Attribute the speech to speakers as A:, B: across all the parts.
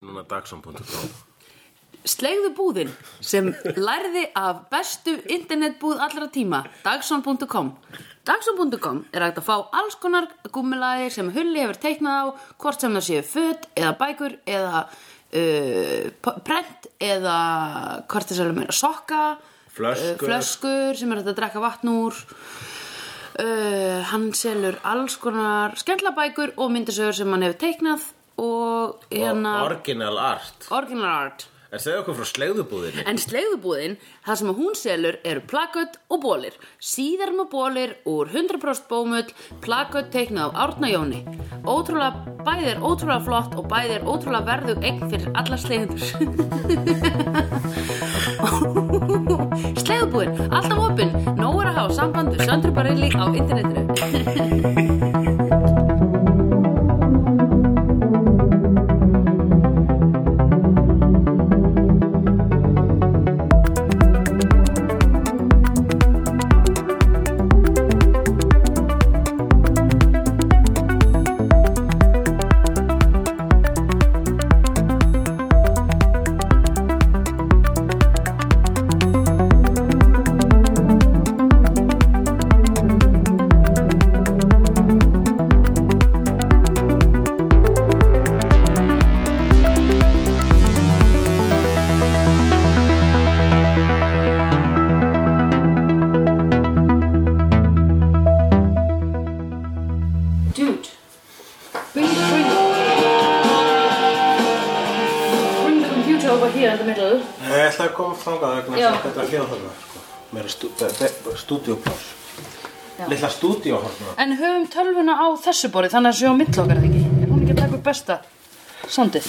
A: Núna dagsum.com
B: Slegðu búðin sem lærði af bestu internetbúð allra tíma, Dagson.com. Dagson.com er hægt að fá alls konar gúmulaðir sem Hulli hefur teiknað á, hvort sem það séu föt eða bækur eða uh, p- prent eða hvort þess að meira sokka,
A: Flöskur.
B: eh, flöskur sem er hægt að drekka vatn úr. Uh, hann selur alls konar skemmtlabækur og myndisögur sem hann hefur teiknað og hérna
A: Original art
B: original art
A: En segðu okkur frá slegðubúðinni
B: En slegðubúðin, það sem hún selur eru plakött og bólir. Síðarma bólir úr 100% bómull, plakött teiknað af Árna Jóni. Ótrúlega, bæði er ótrúlega flott og bæði er ótrúlega verðug eign fyrir alla slegðundur. Slegðubúðin, alltaf opinn, nóg er að hafa samband við Söndru Barilli á internetinu. Dude, bring, bring, bring the computer over here in the middle.
C: Nei, ég ætlaði að koma þangað vegna
B: Já.
C: þess að þetta er hljóðhörna, sko. Meira stú, be- be- stúdíóplás. Lilla stúdíóhörna.
B: En höfum tölvuna á þessu borði þannig að séu á milli okkar eða ekki Er hún ekki að taka upp besta Sondið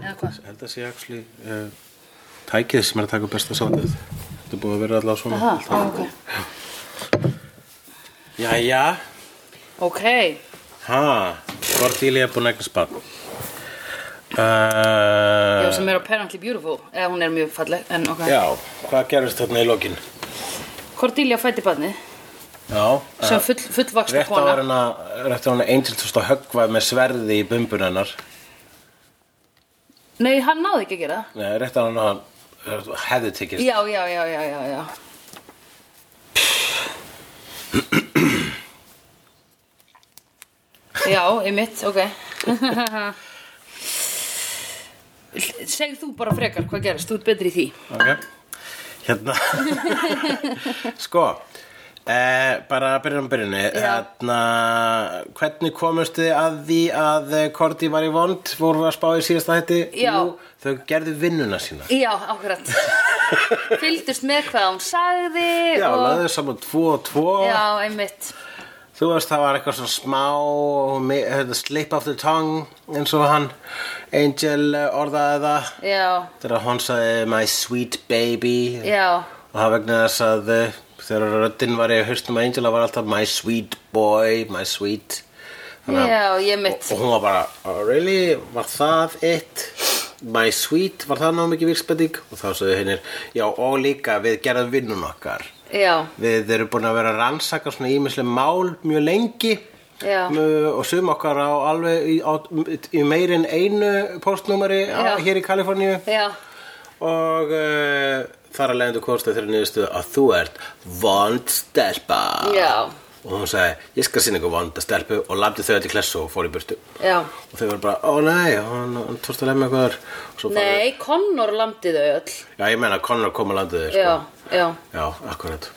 B: Eða hvað?
C: Ég held að sé axli uh, tækið sem er að taka upp besta sándið. Þetta er búið að vera allavega svona.
B: Aha, á,
C: alltaf.
B: ok
C: Jæja,
B: Ok,
C: Eh. ha, Cordelia er búin að eignast barn. Uh,
B: já sem er apparently beautiful Eða hún er mjög falleg en ok
C: já, hvað gerist þarna í lokin?
B: Cordelia fætti barni
C: Já,
B: sem
C: eh,
B: full, fullvaksta
C: rétt á
B: Sko, kona
C: hana, rétt á hana Angel tókst að höggva með sverði í bumbun hennar.
B: Nei, hann náði ekki að gera það
C: Nei, rétt á hana hann hefði tekist.
B: Já, já, já, já, já, já Já, einmitt, ok Segð þú bara frekar hvað gerist, þú ert betri í því
C: Ok, hérna Sko eh, Bara að byrja um byrjunni
B: Já.
C: hérna, Hvernig komust þið að því að eh, Korti var í vond voru að spá í síðasta hætti
B: Já.
C: Þau gerðu vinnuna sína
B: Já, akkurat Fylgdust með hvað hún sagði
C: Já,
B: og...
C: laðið saman tvo og tvo
B: Já, einmitt
C: Þú veist, það var eitthvað svona smá og mi- hérna, slip of the tongue eins og hann Angel eh, orðaði það
B: Já,
C: þegar hann sagði my sweet baby
B: já,
C: og það vegna þess að eh, þegar röddinn var í haustum að Angela var alltaf my sweet boy, my sweet
B: já, ég
C: og,
B: mitt
C: og hún var bara, oh, really, var það it? My sweet, var það ná mikið vísbending? Og þá sagði hennir, já, og líka við gerðum vinnun okkar
B: Já,
C: Við erum búin að vera að rannsaka svona ímislega mál mjög lengi
B: Já.
C: Mö- og sum okkar á alveg í, á, í meirin einu postnúmeri á,
B: Já.
C: hér í Kaliforníu
B: já,
C: og uh, þar að leiðindu komst að þeirra niðurstöðu að þú ert vond stelpa
B: Já.
C: og hún sagði, ég skal sinna ykkur vonda stelpu og landi þau öll í klessu og fór í burtu
B: já
C: og þau voru bara, ó nei, hann, hann tókst að lemja eitthvað þar og svo fóru-
B: Nei, Connor landi þau öll
C: já, ég meina, Conor kom að landi þau
B: Já, já
C: já, akkurat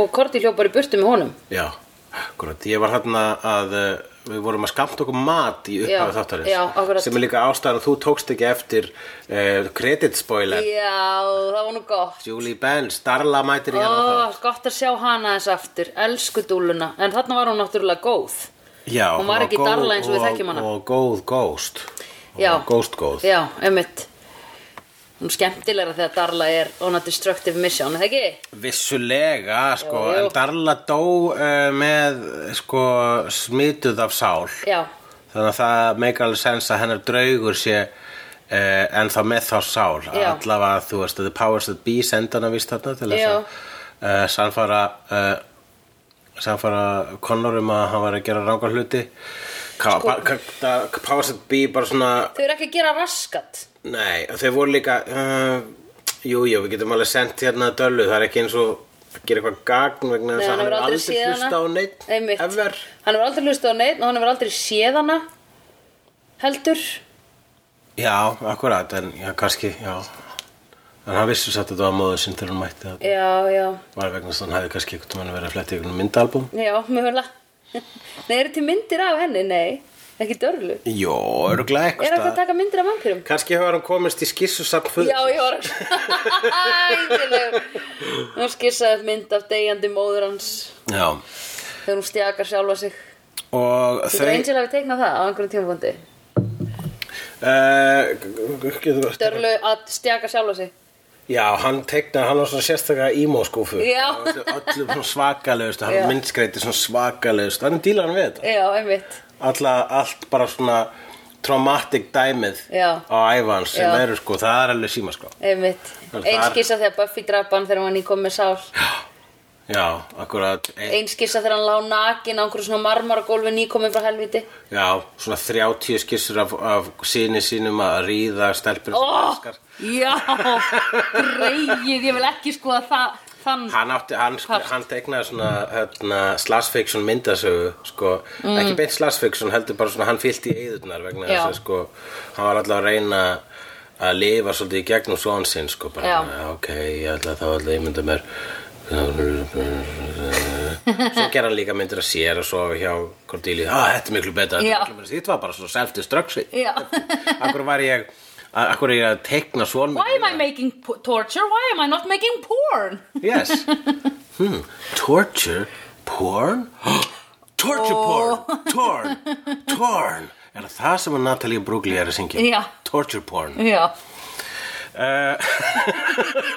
B: Og Korti hljópar í burtu með honum
C: já, akkurat, ég var hann að eh, við vorum að skamta okkur mat í
B: Já,
C: upphafi þáttarins
B: já, akkurat.
C: sem er líka ástæðan að þú tókst ekki eftir uh, kreditspoiler
B: Já, það var nú gott
C: Julie Benz, Darla mætir í hérna
B: Ó, gott að sjá hana eins aftur Elsku dúluna En þarna var hún náttúrulega góð
C: Já,
B: Hún var ekki
C: góð
B: darla eins og við þekkjum hana.
C: Og góð góst Hún
B: Já.
C: var Góst góð
B: Já, einmitt Hún er skemmtilegra þegar Darla er on a destructive mission, er það ekki?
C: Vissulega, sko
B: Jú, jú.
C: En darla dó uh, með sko, smituð af sál
B: Já,
C: Þannig að það meikar alveg sens að hennar draugur sé uh, En þá með þá sál
B: Já.
C: Allavega, þú veist, the powers that be senda hana víst þarna Til þess
B: Já.
C: að eh, uh, sannfara uh, Sannfara Conor um að hann var að gera rángar hluti
B: Sko-
C: Ka- ba- ka- da- Powerset B bara svona
B: Þau eru ekki að gera raskat
C: Nei, þeir voru líka uh, Jú, jú, við getum alveg sendt hérna döllu Það er ekki eins og að gera eitthvað gagn vegna
B: Nei,
C: þess að
B: hann
C: hann er
B: hefur aldrei
C: aldrei
B: séð hana
C: hlusta á neitt
B: Einmitt.
C: Ever
B: Hann hefur aldrei hlusta á neitt og hann hefur aldrei séð hana Heldur
C: Já, akkurat, en já, kannski, já En hann vissi satt að þetta var móður sinn þegar hann mætti það
B: Já, já,
C: Var vegna þess að hann hefði kannski eitthvað mann verið að fletta í einhvern myndalbum
B: já, mögulega Nei, eru til myndir af henni? Nei, ekki dörlu
C: Jó, öruglega
B: Er
C: eitthvað
B: eitthvað að taka myndir af vampýrum?
C: Kannski hefur hann komist í skissusafn föður
B: Já, ég var Æðileg Hún skissaði upp mynd af deyjandi móður hans
C: Já,
B: Þegar hún stjakar sjálfa sig
C: og
B: Þetta
C: þau
B: Angel hafi teiknað það á einhverjum tímabundi
C: uh, getur,
B: Dörlu að stjaka sjálfa sig
C: Já, hann teiknaði, hann var svona sérstaklega ímóskúfu
B: Já.
C: Öllu svona svakalegustu,
B: Já.
C: hann myndskreiti svona svakalegustu Þannig díla hann við þetta
B: Já, einmitt
C: Alla, Allt bara svona traumatic dæmið
B: Já.
C: á æfans sem
B: Já.
C: eru sko, það er alveg síma sko
B: Einmitt
C: Það er-
B: Einskissa þegar Buffy draf hann þegar hann í kom með sál
C: Já, akkurat E, ein,
B: Einskissa þegar hann lá nakin á einhverju svona marmaragólfi nýkomin frá helviti
C: Já, svona 30 skissur af, af sinni sínum að ríða stelpur sem hann
B: oh,
C: elskar.
B: Já, greið, ég vil ekki skoða það, þann
C: Hann, átti, hann, sk- hann tegnaði svona hérna, slasfiksjón myndasögu sko, ekki beint slasfiksjón heldur bara svona hann fyllt í eðurnar vegna
B: Mm. Já.
C: þess að sko, hann var alltaf að reyna að lifa svolítið í gegnum svon sinn sko, bara,
B: Já.
C: ok, ég ætla þá ætla ég mynda mér svo gera hann líka myndir að sér og sofa hjá Cordelia ah, þetta er miklu betra, þetta
B: Já.
C: er miklu betra þetta var bara svona self-destruction
B: Já.
C: akkur var ég akkur er ég að tegna svona
B: Why am I making po- torture? Why am I not making porn?
C: Yes. Hmm. Torture? Porn? Torture porn! Torn! Torn! Er það það sem að Natalie Brugli er að syngja?
B: Já.
C: Torture porn.
B: Já
C: Eh.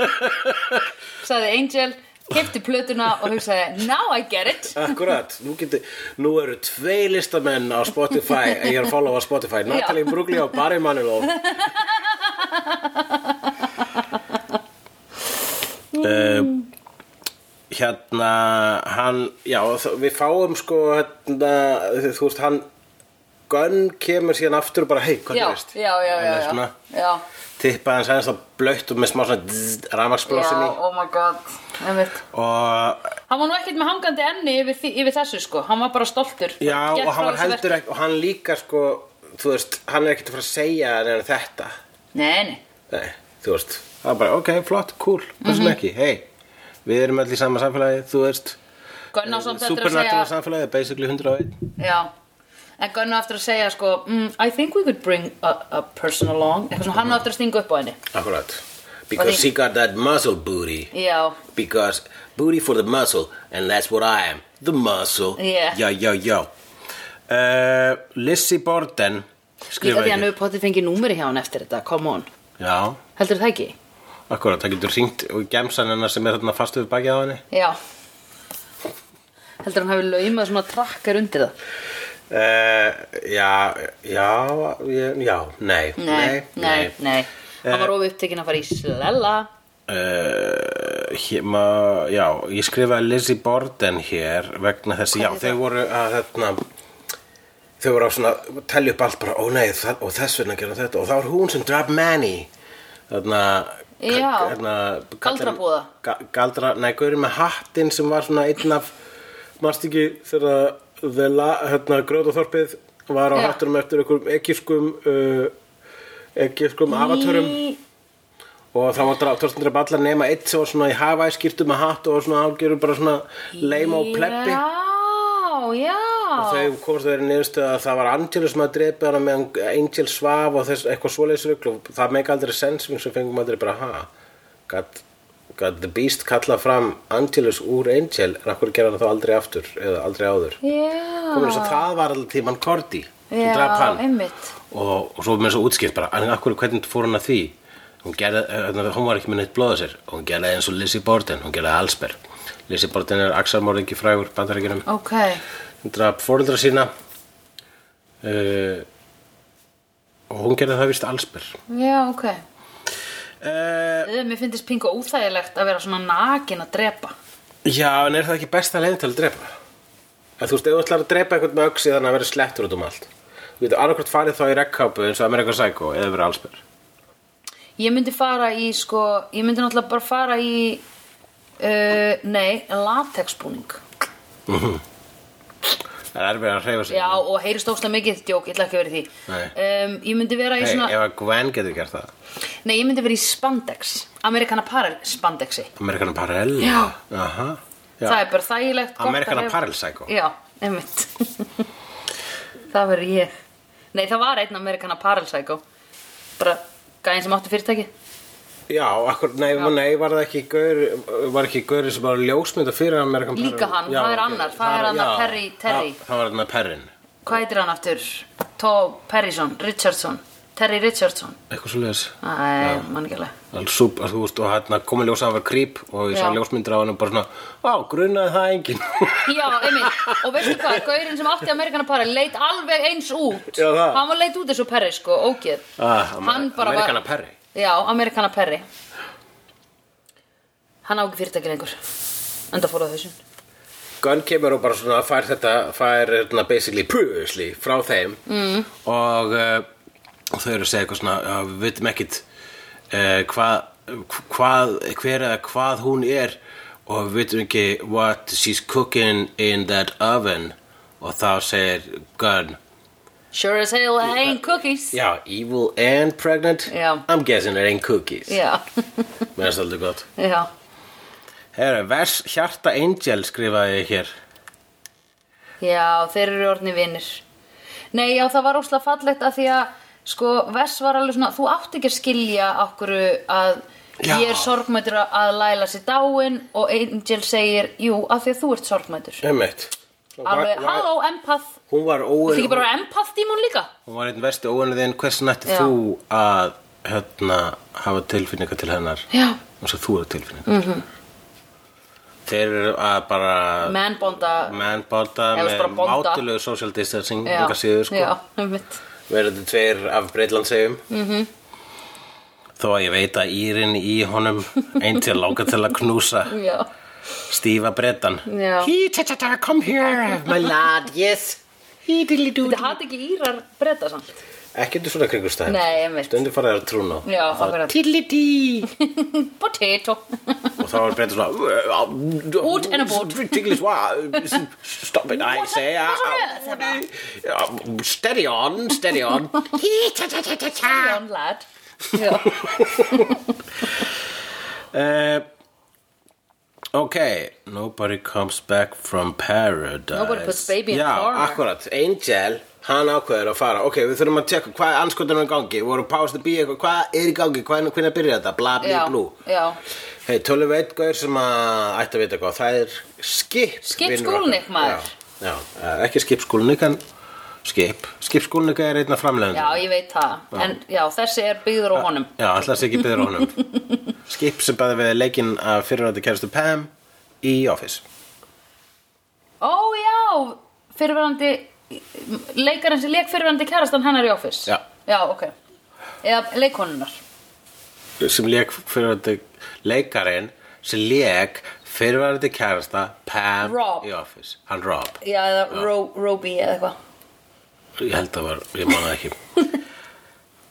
B: Sagði Angel Kipti plötuna og hugsaði Now I get it
C: Akkurat, nú, geti, nú eru tvei listamenn á Spotify, ég er að follow á Spotify, Natalie Brugli og Barry Manilow.
B: Mm.
C: uh, hérna, hann, já, þ- við fáum sko, hérna, þú veist, hann, Gunn kemur síðan aftur og bara, hei, hvað
B: Já,
C: gerist?
B: já, já,
C: Hann
B: já,
C: er
B: já.
C: svona,
B: já.
C: Tippaði hans aðeins á blöitt og með smá svona
B: já
C: ramagsblossin í
B: Oh my god Einmitt.
C: og
B: Hann var nú ekkert með hangandi enni yfir, því- yfir þessu sko Hann var bara stoltur
C: Já,
B: Gekk
C: og hann
B: frá
C: var
B: þessu
C: heldur ekki, og hann líka sko, þú veist, hann er ekkert að fara að segja neina þetta.
B: verki. Nei, nei
C: Nei, þú veist, það er bara, ok, flott, cool, hvað
B: Mhm.
C: sem ekki, hei, við erum öll í sama samfélagi, þú veist,
B: Gunn á samt eftir að
C: supernatural
B: segja
C: samfélagi, basically 101.
B: Já En Gunn á eftir að segja sko mm, I think we could bring a, a person along Eitthvað svona hann á eftir að stinga upp á henni
C: Akkurat. Because she got that muscle booty,
B: Já,
C: because booty for the muscle, and that's what I am, the muscle.
B: Yeah.
C: Já, já, já. Uh, Lissy Borden,
B: Ég-
C: skrifa
B: af því hann
C: ekki.
B: hefur potið fengið númeri hjá hann eftir þetta Come on,
C: Já,
B: heldur það ekki?
C: akkurat, það getur ringt og gemsan hennar sem er þarna fastuð bakið á henni.
B: Já Heldur hann hafi laumað svona trakkar undir það
C: Uh, já, já, já, já, nei, Eh,
B: Nei, nei, nei Hann var ofið upptekinn að fara í slella
C: Uh, héma, já, ég skrifaði Lizzie Borden hér vegna þessi, já, þau voru að þarna, þau voru að svona, telja upp allt bara, ó nei, það, og þess vegna gerum þetta, og þá er hún sem draf Manny, þarna, ka-
B: Já.
C: hérna,
B: Galdrabúða.
C: ga, galdra, nei, gaurið með hattinn sem var svona einn af, marst ekki þegar the, la, hérna, grótaþorpið var á
B: Já.
C: hattunum eftir einhverjum ekiskum, uh, ekiskum avatörum
B: Í-
C: og það var draf, Torsten draf allar nema eitt sem var svona í Hawaii skýrtu með hatt og var svona álgjörum bara svona leima og pleppi
B: Já,
C: og
B: já
C: þau komst þeirri niðurstöð að það var Angel sem að drepa hana meðan Angel svaf og þess, eitthvað svoleiðis rugl og það meik aldrei sens sem svo fengum aldrei bara ha gat, gat the beast kallað fram Angelus úr Angel en akkur gera hann þá aldrei aftur eða aldrei áður Komur þess
B: Já,
C: að það var alltaf tímann Korti sem draf
B: já,
C: hann
B: einmitt
C: og, og svo með þessu útskipt bara en akkur, hvernig fór hún að því hún, gerði, eh, hún var ekki með neitt blóða sér hún gerði eins og Lizzie Borden, hún gerði allsber Lizzie Borden er axarmorðingi frægur bandaríkinum,
B: Ok,
C: hún draf fórundra sína uh, og hún gerði það vist allsber
B: já, ok
C: uh,
B: Eh, Mér finnst pingu óþægilegt að vera svona nakin að drepa
C: já, en er það ekki besta leiðin til að drepa? Að þú veist, ef þú ætlar að drepa eitthvað með öxi þannig að vera slettur út um allt Þú getur annarkvært farið þá í rekkápu eins og Amerikan Psycho eða verið allsber.
B: Ég myndi fara í sko Ég myndi náttúrulega bara fara í uh, Nei, latexbúning
C: Það er erfið að hreyfa sig.
B: Já, og heyrist óslega mikið djók, ég ætla ekki að vera í því
C: Nei.
B: um, Ég myndi vera í
C: Hey,
B: svona
C: ef að Gwen getur gert það.
B: Nei, ég myndi vera í spandex Amerikana Parel spandexi
C: Amerikana Parallel.
B: Já.
C: Aha. Já.
B: Það er bara þægilegt gott að
C: Americana
B: hreyfa-
C: Parallel Psycho.
B: Já, einmitt Það verður ég Nei, það var einn Amerikana Parel Psycho Bara gæðin sem átti fyrirtæki
C: Já, akkur, nei, nei, var það ekki gaur, var ekki gaur sem var ljósmynda fyrir Amerikan Parallel?
B: Líka hann, það er
C: ok.
B: annar, það er annar
C: já,
B: Perry- Terry.
C: Það, það var annar Perrin.
B: Hvað heitir hann aftur? Tó Perryson, Richardson Terry Richardson
C: Eitthvað svo leiðis.
B: Æ, mann ekki alveg
C: Hann súp, að þú veist, og hann komið ljósa að vera krýp og ég sá
B: Já.
C: ljósmyndir á hann og bara svona, á, grunaði það enginn.
B: Já, einmitt, og veistu hvað, gaurinn sem átti Amerikana Parel leit alveg eins út
C: Já, það.
B: Hann var leit út eins og Perry, sko, ógeð
C: ah,
B: Hann bara var-
C: Amerikana Perry.
B: Já, Amerikana Perry Hann á ekki fyrirtæki lengur Enda fór á þessum
C: Gunn kemur og bara svona fær þetta fær hérna basically previously frá þeim mm. og uh, og þau eru að segja eitthvað svona uh, við veitum ekkit uh, hvað, hvað hver eða hvað hún er og við veitum ekki what she's cooking in that oven og þá segir Gunn
B: Sure as hell I ain't cookies
C: já, evil and pregnant
B: Já.
C: I'm guessing it ain't cookies
B: Já,
C: mér er svolítið gott
B: já
C: Herra, vers hjarta angel skrifaði ég hér
B: Já, þeir eru orðni vinnir. Nei, já, það var óslega fallegt að því að, sko, Vess var alveg svona, þú átt ekki að skilja okkur að
C: Já.
B: ég er sorgmætur að læla sér dáin og Angel segir, jú, af því að þú ert sorgmætur.
C: Emmett
B: Alveg, halló, empath.
C: hún var
B: Þú
C: óin
B: þykir bara empath dímon líka?
C: Hún var einn versti óanriðin, hversu nætti
B: Já.
C: þú að hérna, hafa tilfinninga til hennar
B: Já.
C: eins og þú eru tilfinninga mm
B: Mhm.
C: -hmm. Þeir eru að bara
B: Manbonda.
C: mennbálda
B: Eða
C: með
B: bara bonda.
C: mátilegu social distancing
B: Já,
C: enga síður sko
B: Já, einmitt.
C: verður tveir af Breitlandsegjum mm
B: Mhm.
C: -hmm. þó að ég veit að Írin í honum einn til að láka til að knúsa
B: Já,
C: stífa brettan
B: já.
C: He, ta, ta, ta, come here, my lad, yes He, diddly, doodly
B: Þetta hatt ekki írar breyta samt.
C: Ekkert í svona kringustæðin
B: Nei, einmitt.
C: Stundir fara þér að trúna á.
B: Já, það verður.
C: Tiddlidí
B: Potato.
C: Og þá er breytið svona
B: Út en á bút.
C: Tigglis, stop it, I say
B: What on
C: uh, Steady on, steady on Hí, tja, tja, tja, tja, tja
B: Young lad. Já.
C: Eh, Ok, nobody comes back from paradise
B: Nobody puts baby in
C: Já,
B: corner.
C: akkurat, Angel, hann ákveður að fara Ok, við þurfum að tjekka hvað anskotunum er í gangi Við vorum pást að býja eitthvað, hvað er í gangi, hvernig, hvernig byrja þetta Bla, bli,
B: Já,
C: blú
B: já.
C: Hei, tölum við einn gaur sem að ætti að vita hvað Það er skip
B: Skip
C: vinur
B: Skúlnik,
C: okkar.
B: maður.
C: Já, já eh, ekki skip skúlnik, en skip Skip skúlnik er einna framlegend
B: Já, ég veit það. En já, þessi er byggður á honum.
C: Já, alltaf sé ekki byrður á honum Skip sem bæði við leikinn af fyrirvætti kæristu Pam í Office
B: Ó já, fyrirverandi, leikarinn sem leik fyrirverandi kærastan hennar í Office.
C: Já.
B: Já, ok. Eða leikonunar.
C: sem leik fyrirvændi leikarinn sem leik fyrirvændi kærasta Pam
B: Rob.
C: í Office Hann Rob,
B: Já, eða Ro, Roby eða eitthvað.
C: ég held að var, ég man það ekki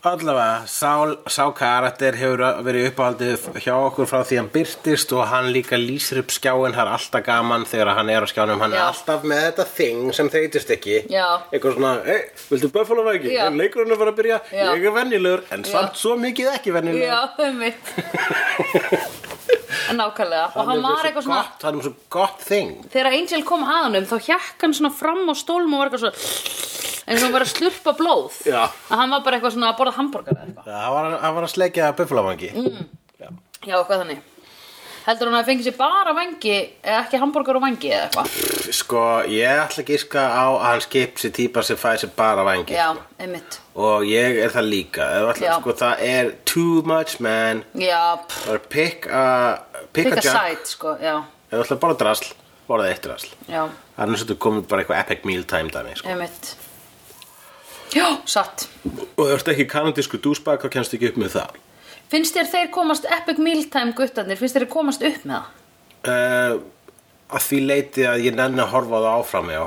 C: Allavega, sá, sá karakter hefur verið uppáhaldið hjá okkur frá því hann byrtist og hann líka lýsir upp skjáin, það er alltaf gaman þegar hann er á skjánum, hann
B: Já.
C: er alltaf með þetta þing sem þeytist ekki
B: Já.
C: eitthvað svona, ei, viltu Buffalo væki?
B: Já.
C: leikur hann að fara að byrja,
B: Já.
C: ég er venjulegur en
B: Já.
C: samt svo mikið ekki venjulegur
B: Já, um mitt. Nákvæmlega. Og hann
C: er með
B: var
C: svo
B: eitthvað svona,
C: gott, hann er með svo gott þing
B: þegar Angel kom að honum, þá hjekk hann svona fram á stólum og var eitthvað svona, eins og hann var að slurpa blóð.
C: Já.
B: Að hann var bara eitthvað svona að borða hambúrgar eða eitthvað.
C: Það var, hann var að sleikja buffalavangi mm.
B: Já, eitthvað þannig Heldur hún að fengi sér bara vangi eða ekki hambúrgar og vangi eða eitthvað
C: Sko, ég ætla að gíska á að hann skip sér típa sem fæði sér bara vangi
B: Já, einmitt
C: Og ég er það líka Ef ætla,
B: Já.
C: sko, Það er too much man
B: Já, pff,
C: Það er pick a, pick
B: pick a
C: junk.
B: side, sko, já,
C: Ef þú ætla bara drasl, borða eitt drasl
B: já,
C: Það er eins og þú komið bara eitthvað epic meal time dæmi sko.
B: einmitt Já, satt
C: Og þú ert ekki kanadísku dúsbak þá kennst ekki upp með það
B: Finnst þér þeir komast epic mealtime guttarnir, finnst þér þeir komast upp með það?
C: Eh, uh, Að því leiti að ég nenni að horfa á það áfram já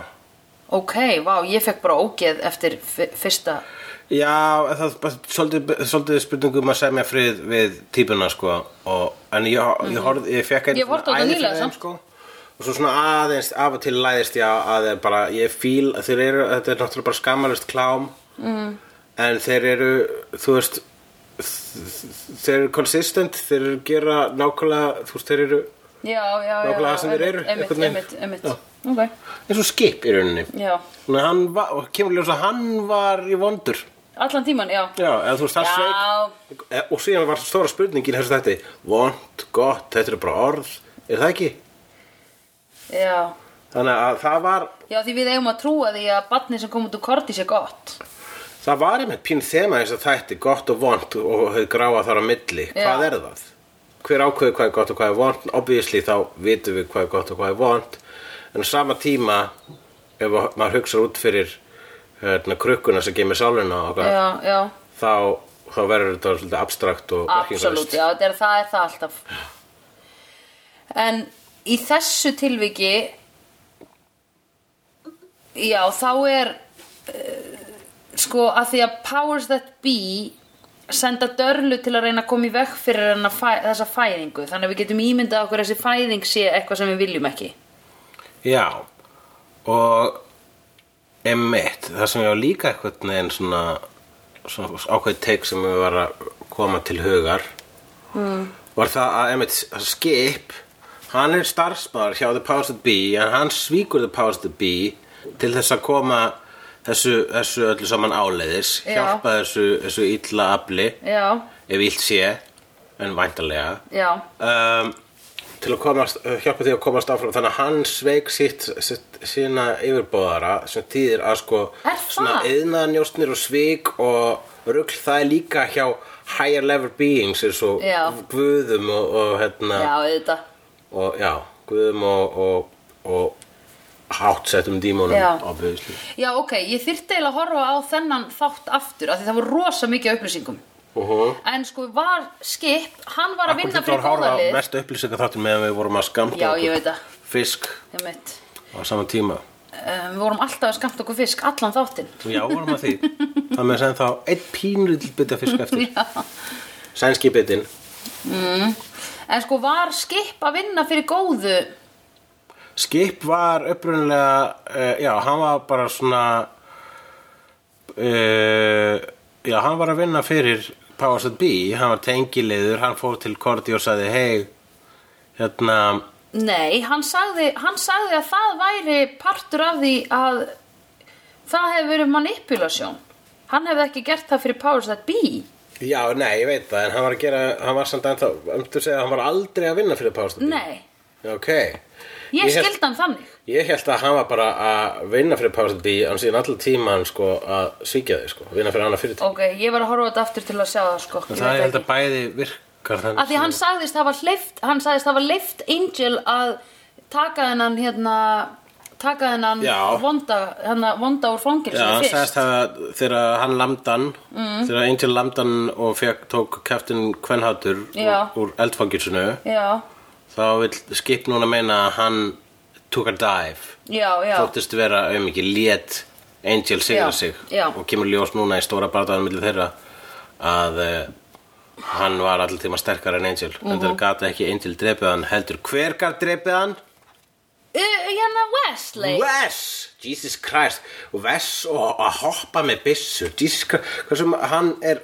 B: ok, vá, ég fekk bara ógeð eftir fi- fyrsta
C: Já, en það er svolítið, svolítið spurningum að semja frið við típuna sko og, en ég, ég, horf, ég fekk einn
B: Mhm. Ég horfði á þetta
C: æði
B: nýlega
C: fyrir þeim,
B: samt.
C: sko, og svo svona aðeins af og til læðist ég á að þeir bara ég fíl, þeir eru, þetta er náttúrulega bara skammalist klám mm.
B: Mhm.
C: en þeir eru, þú veist þ- þeir eru consistent þeir eru gera nákvæmlega þú veist, þeir eru
B: já, já, já,
C: Nákvæmlega það sem þeir eru,
B: einmitt, einmitt,
C: einhvern veginn.
B: einmitt, einmitt.
C: Já.
B: ok,
C: eins og skip í rauninni
B: já,
C: Þannig að hann var, og kemur ljós að hann var í vondur
B: allan tíman, já
C: Já, eða þú veist, það sveit
B: já,
C: E- og síðan var stóra spurningin þessu þetta, vond, gott, þetta er bara orð er það ekki?
B: já
C: þannig að það var,
B: já, því við eigum að trúa því að barnið sem kom út úr korti sé gott
C: það var einmitt pín þema þess að þætti, gott og vond og þau gráa þar á milli,
B: Já.
C: hvað er það? hver ákveður hvað er gott og hvað er vond obviously þá vitum við hvað er gott og hvað er vond en á sama tíma ef að- maður hugsa út fyrir hérna, krukkuna sem gemir sáluna og okkar,
B: já, já,
C: þá, þá verður þetta svolítið abstrakt og merkingarlaust.
B: absolutt, já, það er, það er það alltaf en í þessu tilviki já, þá er uh, sko að því að powers that be senda dörlu til að reyna að koma í veg fyrir hennar fæ, þessa fæðingu þannig að við getum ímyndað okkur að þessi fæðing sé eitthvað sem við viljum ekki
C: Já, og emitt, það sem ég var líka eitthvað neginn svona, svona ákveðið teik sem við var að koma til hugar var það að emitt skip, hann er starfsmaður hjá The Powers That Be en hann svíkur The Powers That Be til þess að koma þessu, þessu öllu saman áleiðis
B: Já.
C: hjálpa þessu, þessu illa afli
B: já,
C: ef illt sé, en væntanlega
B: já,
C: um, til að komast, uh, hjálpa því að komast áfram þannig að hann sveik sitt, sitt sína yfirbóðara sem þýðir að sko
B: Er það?
C: yðnaðanjóstnir og svik og rugl það er líka hjá higher level beings eins og
B: Já.
C: guðum og, og hérna
B: já, auðvitað
C: og já, guðum og, og, og hátsettum dímonum
B: Já.
C: obviously.
B: já, ok, ég þyrfti eiginlega að horfa á þennan þátt aftur af því það voru rosa mikið af upplýsingum
C: Uh -huh.
B: En sko var skip, hann var að vinna fyrir
C: góðalið
B: góðalið
C: mest upplýsingar þáttum meðan við vorum að skamta
B: Já, ég
C: okkur
B: veit það.
C: fisk
B: Einmitt.
C: á sama tíma
B: um, Við vorum alltaf að skamta okkur fisk, allan þáttinn
C: Já, vorum að því Það með sem þá einn pínlítil bita fisk eftir
B: Já.
C: Sænski bitin
B: En sko var skip að vinna fyrir góðu
C: Skip var upprunnilega uh, Já, hann var bara svona uh, Já, hann var að vinna fyrir Powers That Be Hann var tengilegður, hann fór til Korti og sagði Hei, hérna
B: Nei, hann sagði, hann sagði að það væri partur af því að það hefði verið manipulation Hann hefði ekki gert það fyrir powers that be
C: Já, nei, ég veit það, en hann var að gera, hann var samt ennþá, um þú segja, hann var aldrei að vinna fyrir Powers That Be
B: Nei,
C: Ok
B: ég,
C: Ég hef-
B: skildi hann þannig
C: Ég held að hann var bara að vinna fyrir Powers That Be, hann síðan allan tíman, sko, að svíkja þig, sko, vinna fyrir annað fyrirtæki
B: Ok, ég var að horfa á þetta aftur til að sjá það sko
C: En það
B: Ég veit
C: er held
B: ekki.
C: að bæði virkar þannig
B: að því hann sagðist hafa hleyft hann sagðist hafa hleyft Angel að taka hennan hérna taka hennan
C: Já.
B: vonda hérna, vonda úr fangilsinu
C: Já, hann
B: fyrst
C: sagðist það þegar hann lamdan mm. þegar Angel lamdan og fekk, tók Captain Kvenhatur úr,
B: Já.
C: úr eldfanginsinu
B: já,
C: þá vil skip núna meina að hann took a dive
B: já, já
C: þóttist vera auðmikið lét Angel sigra
B: Já,
C: sig
B: já.
C: og kemur ljós núna í stóra barðaðan millir þeirra að uh, hann var alltaf tíma sterkar en Angel
B: Mhm.
C: en það gata ekki Angel drepið hann heldur hver gat drepið hann?
B: Uh, hérna Wesley
C: Wes, Jesus Christ og Wes og að hoppa með byssu Jesus Christ, hversu ma- hann er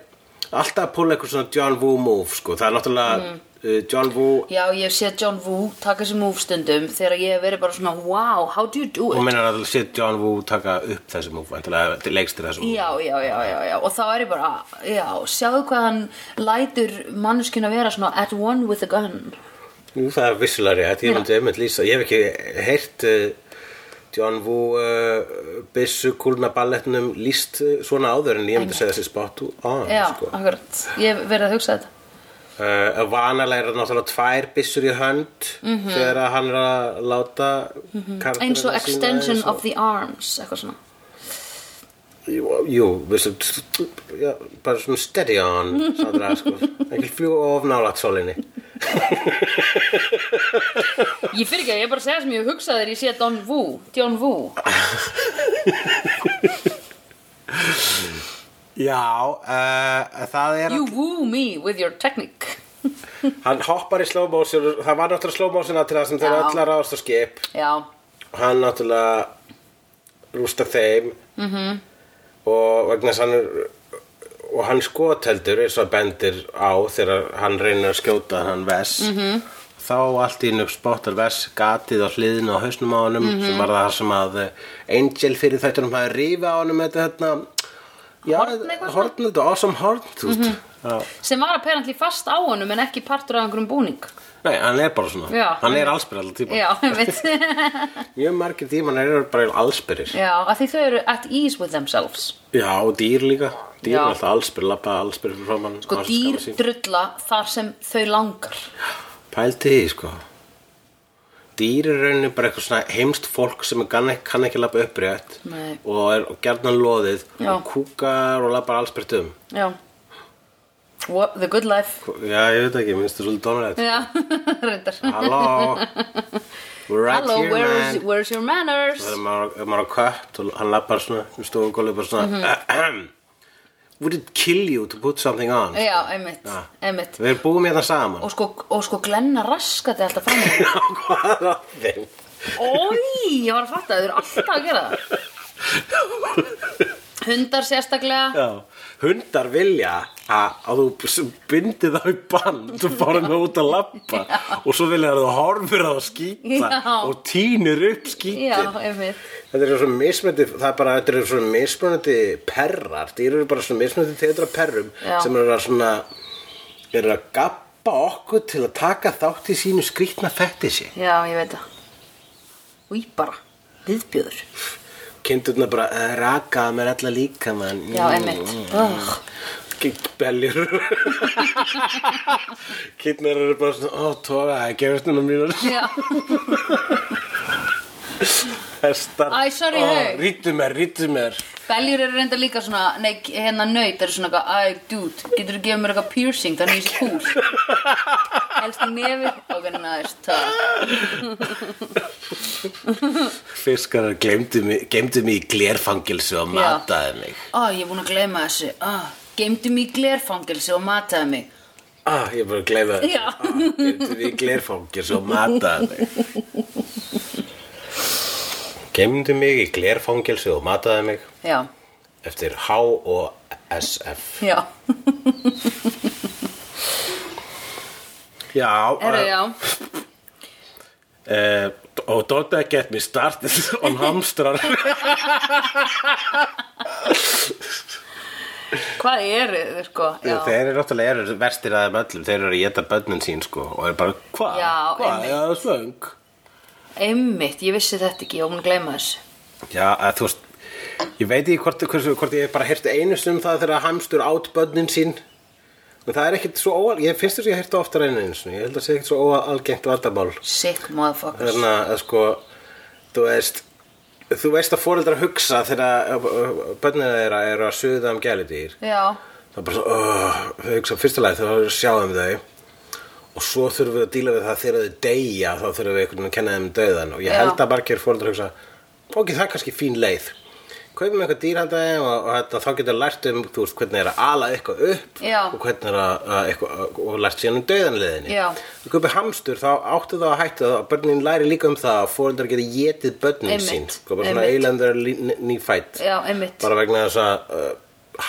C: alltaf að púla eitthvað svona John Woo move sko, það er náttúrulega
B: Mhm.
C: uh, John Woo,
B: já, ég hef séð John Woo taka þessi move stundum þegar ég hef verið bara svona wow, how do you do
C: hún
B: it
C: meinar að sé John Woo taka upp þessi move, væntanlega til leikstir þessu
B: já, já, já, já, já og þá er ég bara, já, sjáðu hvað hann lætur mannskjuna vera svona at one with a gun
C: Jú, það er vissulari, þetta ég myndi einmitt lýsa ég hef ekki heyrt uh, John Woo uh, byssu kúlna balletnum lýst uh, svona áður en ég myndi segja þessi spot on,
B: já,
C: sko.
B: akkurat, ég hef verið að hugsa þetta
C: Uh, vanalega er það náttúrulega tvær byssur í hönd þegar að hann er að láta mm -hmm.
B: Mhm. eins og extension of the arms eitthvað svona
C: Jú, jú vissu, já, bara svona steady on sandra, sko. ekki fljú of nálat solinni
B: Ég fyrir ekki, ég er bara að segja sem ég hugsa þegar ég sé Don Wu, John Wu
C: Já, uh, það er
B: You woo me with your technique
C: Hann hoppar í slow motion og Það var náttúrulega slow motion til það sem þeir
B: Já.
C: öllar ráðast á skip
B: Já,
C: og hann náttúrulega rústa þeim -hmm.
B: Mhm.
C: og vegna þess að hann er- og hann skoteldur eins og bendir á þegar hann reynir að skjóta hann Vess
B: Mhm.
C: -hmm. þá allt í nöfn spottar Vess gatið á hliðinu á hausnum á honum
B: Mhm.
C: sem var það sem að eh, Angel fyrir þetta hann hafði rífi á honum þetta hérna Já,
B: Horn eitthvað svona? Mhm.
C: horn, þetta awesome horn, þú veist Já.
B: sem var apparently fast á honum en ekki partur af einhverjum búning
C: Nei, hann er bara svona
B: Já.
C: Hann er allsbyr alltaf tíma
B: Já, ég veit
C: Mjög margir tímanar eru bara allsbyrir
B: Já, að því þau eru at ease with themselves
C: Já, og dýr líka Dýr
B: Já.
C: er alltaf allsbyr, lappa allsbyr frá mann
B: Sko dýr drulla þar sem þau langar
C: Pælti því, sko Dýr er rauninni bara eitthvað svona heimst fólk sem kann ekki, kann ekki lappa upprétt
B: Nei.
C: og er gerðan loðið
B: Já.
C: og kúkar og lappar allsbyrt um
B: Já What, The good life
C: Já, ég veit ekki, minnst þú svolítið dónarætt
B: Já, reyndar
C: Halló We're right
B: Hello,
C: here,
B: where's,
C: man
B: where's your manners?
C: Það er maður, ef maður á kött og hann lappar svona um stofugólið bara svona
B: Mhm.
C: Would it kill you to put something on?
B: Já, einmitt,
C: Já.
B: einmitt
C: Ah. Við erum búið með það saman
B: Og sko, og sko glenna raskati alltaf fram í
C: Já, hvað er að þeim?
B: Ói, ég var að fatta, þau eru alltaf að gera það Hundar sérstaklega
C: Já, hundar vilja að, að þú s- bindir þá í bann þú fórum það út að lappa og svo vilja að þú horfir á að skýta
B: Já.
C: og tínir upp skýtin
B: Já, einmitt
C: Þetta er svona mismunandi, það er bara, þetta er svona mismunandi perrar, dýr eru bara svona mismunandi tegundar af perrum
B: Já.
C: sem eru að svona, eru að gappa okkur til að taka þátt í sínu skrýtna fætti sig.
B: Já, ég veit það Úi bara, viðbjöður
C: Kindurna bara eh, rakaða mér alla líka mann.
B: Já, einmitt Ugh.
C: Beljur. Kindurna eru bara svona, ó, tóra, það er gerðnuna mínur.
B: Já,
C: Hestar.
B: Æ, sorry, hey.
C: Rýttu mér, rýttu mér.
B: beljur eru reynda líka svona Nei, hérna nöyt eru svona eitthvað Æ, dude, getur þú gefið mér eitthvað piercing Þannig ég sé kúl Helst í nefi Ok, næst, það
C: Fiskarar glemdu mig, glemdu mig í glerfangilsu og mataði mig.
B: Ó, ég er búin að gleyma þessu Ó, geymdu mig í glerfangelsi og mataði mig
C: Ah, ég er bara að gleyma þessu.
B: Já.
C: Ah, geymdu þig í glerfangir svo mataði mig. Gemdu mig í glerfangilsu og mataði mig
B: Já,
C: eftir H og SF.
B: já
C: Já,
B: Herru, já eh,
C: Uh, og don't get me started on hamstrar.
B: Hvað eru þið, sko? Já,
C: Þeir eru náttúrulega eru verstir aðeim öllum. Þeir eru að geta börnin sín sko og eru bara, hvað?
B: Já,
C: hvað?
B: einmitt.
C: Já, það er svöng.
B: einmitt, ég vissi þetta ekki, ég var búin að gleyma þessu.
C: Já, að þú veist, ég veit ekki hvort, hvort, hvort ég hef bara heyrti einu sinum það þegar hamstur át börnin sín en það er ekkit svo óal, ég finnst þess að ég heyrti oftar einu einu sinum, ég held að það sé ekkit svo óalgengt vandamál
B: Sick motherfuckers.
C: þannig að sko, þú veist þú veist að fóreldrar hugsa þegar börnina þeirra eru að suða um gæludýr
B: Já,
C: það er bara svo, uh, þau hugsa fyrsta lagi þegar þau sjá um þau og svo þurfum við að díla við það þegar þau deyja þá þurfum við einhvern veginn að kenna þeim döðan og ég
B: Já.
C: held að margir fóreldrar hugsa ok, það er kannski fín leið kaupum eitthvað dýrhandaði og, og þetta, þá getur lært um þú veist, hvernig er að ala eitthvað upp
B: Já.
C: og hvernig er að, að eitthvað, og lært síðan um döðanleðinni
B: Já.
C: þú kaupir hamstur, þá áttu það að hættu það og börnin læri líka um það að fóreldrar getur getið börnin
B: Einmitt.
C: sín sko, bara svona
B: Einmitt.
C: eilandar nýfætt
B: já, einmitt.
C: bara vegna þess að uh,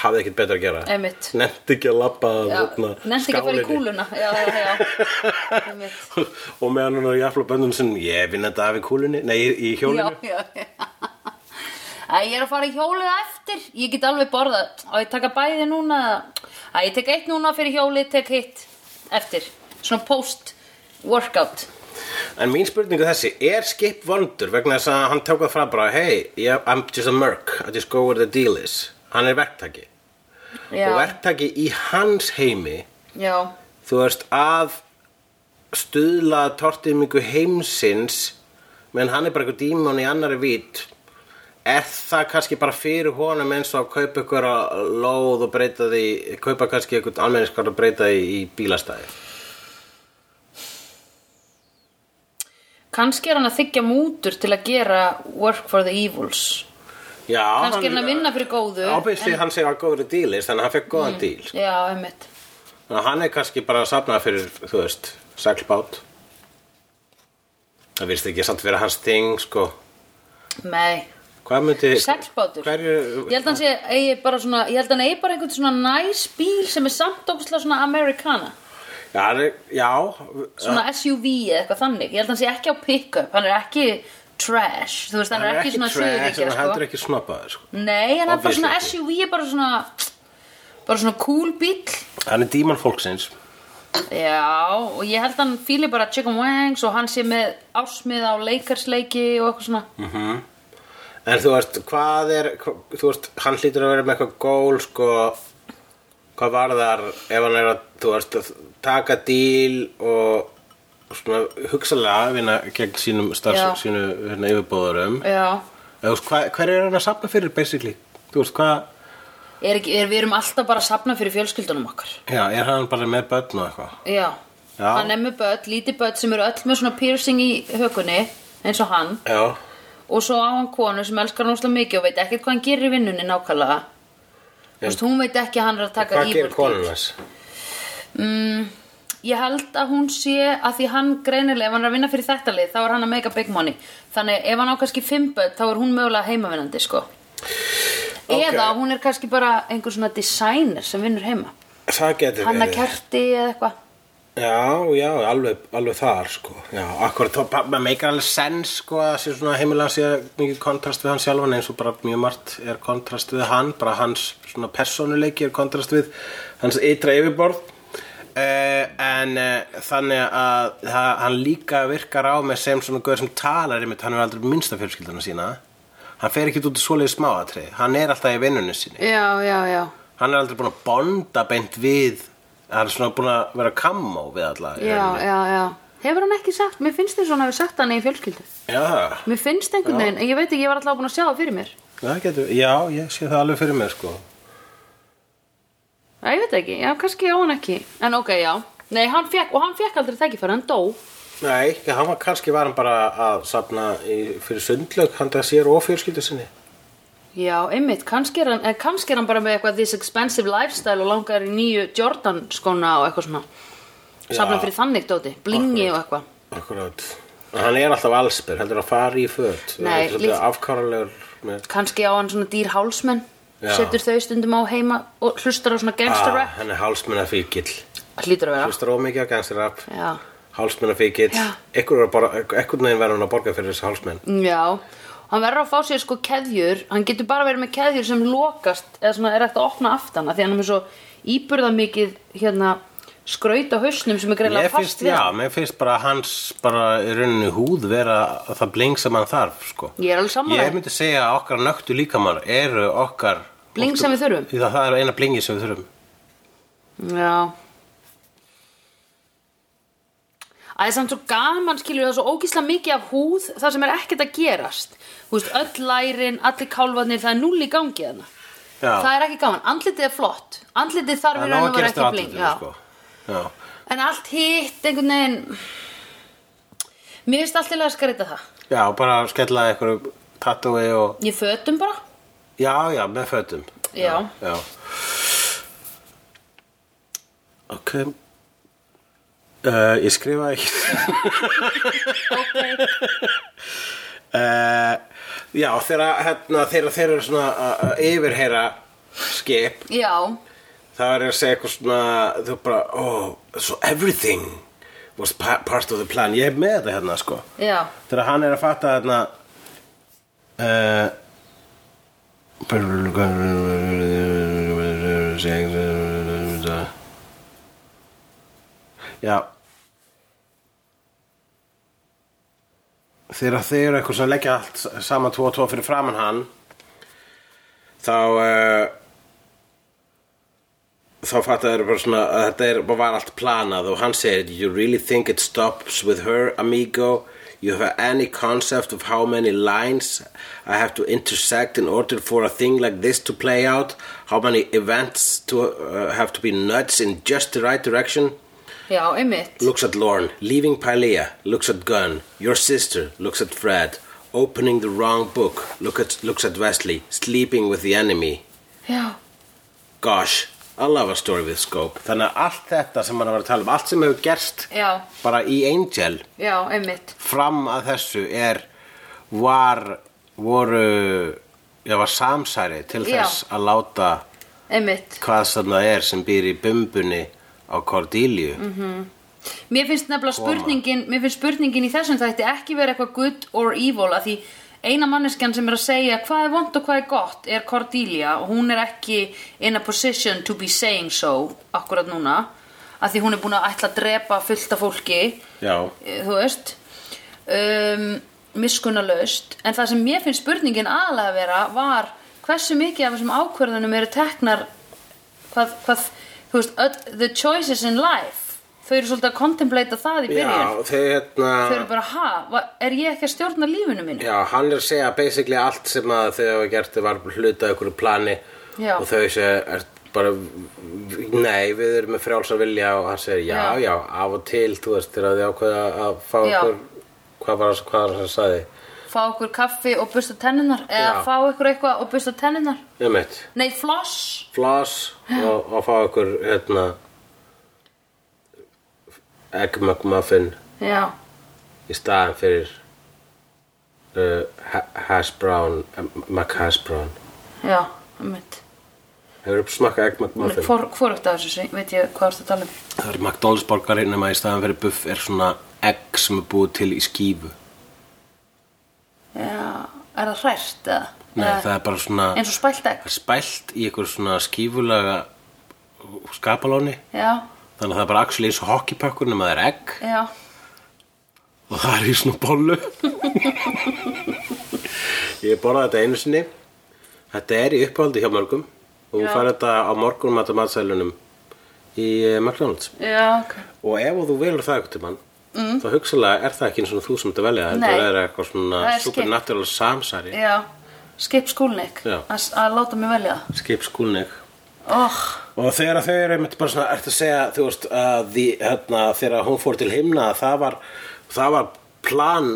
C: hafði ekkert betra að gera
B: Einmitt.
C: nefndi ekki að labba að,
B: Já,
C: hérna,
B: Nefndi ekki að
C: skálinni.
B: fara í kúluna. Já, já, já. einmitt.
C: og meðan hún er að jafla bönnum sinn ég vinn þetta af í kúlunni, nei í- í
B: Já,
C: hjólinu
B: já, já. Æ, ég er að fara í hjólið á eftir. Ég get alveg borðað. Á, ég taka bæði núna. Æ, ég tek eitt núna fyrir hjólið, tek hitt eftir. Svona post-workout.
C: en mín spurning er þessi, er skip vondur vegna þess að hann tók það frá bara hey, yeah, I'm just a merc, I just go where the deal is hann er verktaki og
B: Já,
C: verktaki í hans heimi
B: já,
C: þú veist að stuðla að tortimingu heimsins menn hann er bara eitthvað dímon í annari vít er það kannski bara fyrir honum eins og að kaupa ykkur að lóð og breyta því kaupa kannski ykkur almenniskar og breyta því í bílastæði
B: kannski er hann að þykja mútur til að gera work for the evils
C: Já,
B: kannski er hann að vinna fyrir góðu
C: Ábyggslega hann segja að góður dílis, þannig að hann fekk góðan mm. díl.
B: já, einmitt
C: Þannig að hann er kannski bara að safna fyrir, þú veist, seglbát. Það virðist ekki samt vera hans ting, sko.
B: nei,
C: Hvað myndi...
B: seglbátur
C: Hverju...
B: ég held að hann sé, eigi bara svona ég held að hann eigi bara einhvern svona næs bíl sem er samt ógustlega svona amerikana
C: Já, hann er- já,
B: svona SUV eða eitthvað þannig ég held að hann sé ekki á pick-up, hann er ekki trash, þú veist, hann, er ekki, svona
C: trash, en
B: suðuríkja,
C: hann heldur ekki snoppaður, sko.
B: Nei, en það er bara svona
C: Obviously.
B: SUV er bara svona bara svona cool bíl
C: Hann er díman fólksins.
B: Já, og ég held að hann fíli bara chicken wings og hann sé með ásmið á leikarsleiki og eitthvað svona
C: Mhm. En þú veist, hvað er, hva- þú veist, hann hlýtur að vera með eitthvað gól, sko, hvað varðar ef hann er að, þú veist, að taka díl og svona hugsalega vinna gegn sínum
B: Já.
C: starfs, sínu hérna, yfirbóðurum.
B: Já,
C: Eða, þú veist, hva, hver er hann að safna fyrir, basically? Þú veist, hvað,
B: er, ekki, er við erum alltaf bara að safna fyrir fjölskyldunum okkar
C: já, er hann bara með börn og eitthvað?
B: Já,
C: Já.
B: hann er með börn, lítið börn sem eru öll með svona piercing í hökunni eins og hann
C: Já,
B: og svo á hann konu sem elskar hann óslega mikið og veit ekkert hvað hann gerir í vinnunni nákvæmlega Þú veist, hún veit ekki að hann er að taka
C: hvað gerir
B: íbúð-
C: konun þess?
B: Ég held að hún sé að því hann greinilega, ef hann er að vinna fyrir þetta lið, þá er hann að make a big money. Þannig ef hann á kannski fimm börn, þá er hún mögulega heimavinnandi, sko. Eða hún er kannski bara einhver svona designer sem vinnur heima.
C: Það getur
B: Hanna kerti eða eitthvað.
C: Já, já, alveg, alveg þar sko Já, akkurat, þá bara- maður meikar alveg sens sko að sé svona heimilega sé mikið kontrast við hann sjálfan eins og bara mjög margt er kontrast við hann, bara hans svona persónuleiki er kontrast við hans ytra yfirborð uh, en uh, þannig að það, hann líka virkar á með sem svona guður sem talar einmitt, hann er aldrei minnsta fjölskyldana sína hann fer ekki út í svoleiði smáatri hann er alltaf í vinnunni sinni
B: Já, já, já.
C: hann er aldrei búin að bonda beint við hann er svona búin að vera kammó við alla í rauninni.
B: já, já. Hefur hann ekki sagt, mér finnst þér svona að við sagt hann í fjölskyldu.
C: já,
B: Mér finnst einhvern veginn, ég veit ekki, ég var alltaf búin að sjá það fyrir mér.
C: það getur já, ég sé það alveg fyrir mér sko
B: Já, ég veit ekki, já, kannski á hann ekki. En ok, já. Nei, hann fekk, og hann fekk aldrei tækifæri, hann dó.
C: nei, já, hann var kannski var hann bara að safna í, fyrir sundlög handa sér og fjölskyldu sinni
B: Já, einmitt, kannski er, hann, eh, kannski er hann bara með eitthvað this expensive lifestyle og langar í nýju Jordan skóna og eitthvað svona safna
C: Já.
B: fyrir þannig dóti, blingi og eitthvað
C: akkurat hann er alltaf allsbyr, heldur að fara í föt
B: Nei, líf-
C: afkáralegur með
B: kannski á hann svona dýr hálsmenn
C: Já.
B: setur þau stundum á heima og hlustar á svona gangster
C: ah,
B: rap
C: hann er hálsmenna fíkil
B: hlýtur að vera
C: hlustar ómikið að gangsta rap
B: Já.
C: hálsmenna fíkil
B: Já.
C: ekkert neginn verður hann að borga fyrir þessi hálsmenn
B: Já, hann verður að fá sér sko keðjur hann getur bara verið með keðjur sem lokast eða svona er eftir að opna aftana því hann er með svo íburða mikið hérna skraut á hausnum sem er
C: Mér
B: greiðlega
C: finnst,
B: fast við
C: já, mér finnst bara hans bara í rauninni húð vera að það bling sem hann þarf, sko.
B: Ég er alveg sammála.
C: Ég myndi segja að okkar nöktu líkamar eru okkar...
B: Bling sem við þurfum.
C: Því það, það er eina blingi sem við þurfum.
B: Já Æ, Það er samt svo gaman skilur það er svo ógísla mikið af húð það sem er ekkert að gerast Þú veist, öll lærin, allir kálfarnir það er null í gangi þarna
C: Já.
B: Það er ekki gaman, andlitið er flott Andlitið þarf í
C: nóg
B: raun og vera
C: gerast á
B: ekki bling
C: andlitinu,
B: Já.
C: sko. Já.
B: En allt hitt einhvern veginn Mér finnst allt til að skreita það
C: já, bara skella eitthvað tattúi og...
B: Ég fötum bara
C: Já, já, með fötum.
B: Já.
C: Já. Ok. Uh, ég skrifa ekki...
B: okay.
C: Uh, já, þegar hérna, þeirra, þeirra eru svona að- að yfirheyra skip
B: Já,
C: það er að segja eitthvað svona þau bara, oh, so everything was pa part of the plan ég er með þetta hérna, sko
B: já,
C: þegar hann er að fatta hérna uh, já þegar þeir eru eitthvað sem leggja allt saman tvo og tvo fyrir framann hann þá uh, þá fattaður bara svona að þetta er, bara var allt planað og hann segir You really think it stops with her, amigo? You have any concept of how many lines I have to intersect in order for a thing like this to play out? How many events to uh, have to be nudged in just the right direction?
B: Já, einmitt.
C: Looks at Lorne, leaving Pylea, looks at Gunn, your sister, looks at Fred, opening the wrong book, look at, looks at Wesley, sleeping with the enemy.
B: Já.
C: Gosh, I love a story with scope. Þannig að allt þetta sem hann var að tala um, allt sem hefur gerst
B: Já.
C: bara í Angel
B: Já, einmitt.
C: fram að þessu er, var, voru, já, var samsæri til
B: Já.
C: þess að láta
B: Einmitt.
C: hvað þarna er sem býr í bumbunni á Cordelia.
B: Mhm. Mér finnst nefnilega
C: Koma.
B: spurningin, mér finnst spurningin í þessum þætti ekki vera eitthvað good or evil að því eina manneskjan sem er að segja hvað er vond og hvað er gott er Cordelia og hún er ekki in a position to be saying so akkurat núna að því hún er búin að ætla að drepa fullt af fólki
C: Já.
B: eh, þú veist um, miskunnalaust en það sem mér finnst spurningin aðalega vera var hversu mikið af þessum ákvörðunum eru teknar hvað, hvað þú veist, öll, the choices in life þau eru svolítið að contemplata það í byrjun
C: Já, þau hérna...
B: þau eru bara, ha, va- er ég ekki að stjórna lífinu mínu?
C: Já, hann er að segja basically allt sem að þau hafa gert var hluta af einhverju plani
B: Já.
C: og þau sé er bara, nei, við erum með frjálsa vilja og hann segir, já,
B: Já.
C: já, af og til, þú veist, þegar þau ákveða að fá
B: Já.
C: okkur, hvað var það, hvað var það sem sagði,
B: fá okkur kaffi og busta tennunar eða
C: Já.
B: fá okkur eitthvað og busta tennunar
C: um eitt,
B: nei, floss
C: floss og, og fá okkur, hérna, egg McMuffin
B: já,
C: í staðan fyrir uh, ha- hash brown, eh, McHash brown.
B: já, einmitt
C: Hefur upp smakkað egg
B: Hún er
C: McMuffin?
B: hvor, hvorugt af þessu, sé- veit ég hvað ertu að tala um
C: Það er McDonalds borgari nema í staðan fyrir buff er svona egg sem er búið til í skífu
B: Já, er það hrært eða?
C: Nei,
B: Eða
C: það er bara svona
B: Eins og spælt egg?
C: það er spælt í einhver svona skífulaga skapalóni
B: Já,
C: þannig að það er bara axli eins og hockeypökkur nema það er egg
B: já,
C: og það er í svona bollu Ég borðaði þetta einu sinni Þetta er í uppáhaldi hjá mörgum og þú
B: Já.
C: fær þetta á morgun matamatsælunum í eh, McDonalds
B: já, ok
C: og ef þú velur það eitthvað til mann mm. þá hugsalega er það ekki eins og þú sem þetta velja
B: Nei.
C: það er eitthvað svona
B: Það er skip. Eh.
C: supernatural samsæri
B: Já, skip skúlnik
C: Já.
B: Að að láta mig velja það
C: skip skúlnig
B: Oh,
C: og þegar þau eru einmitt bara svona ertu að segja þú veist að því, hérna, þegar hún fór til himna það var, það var plan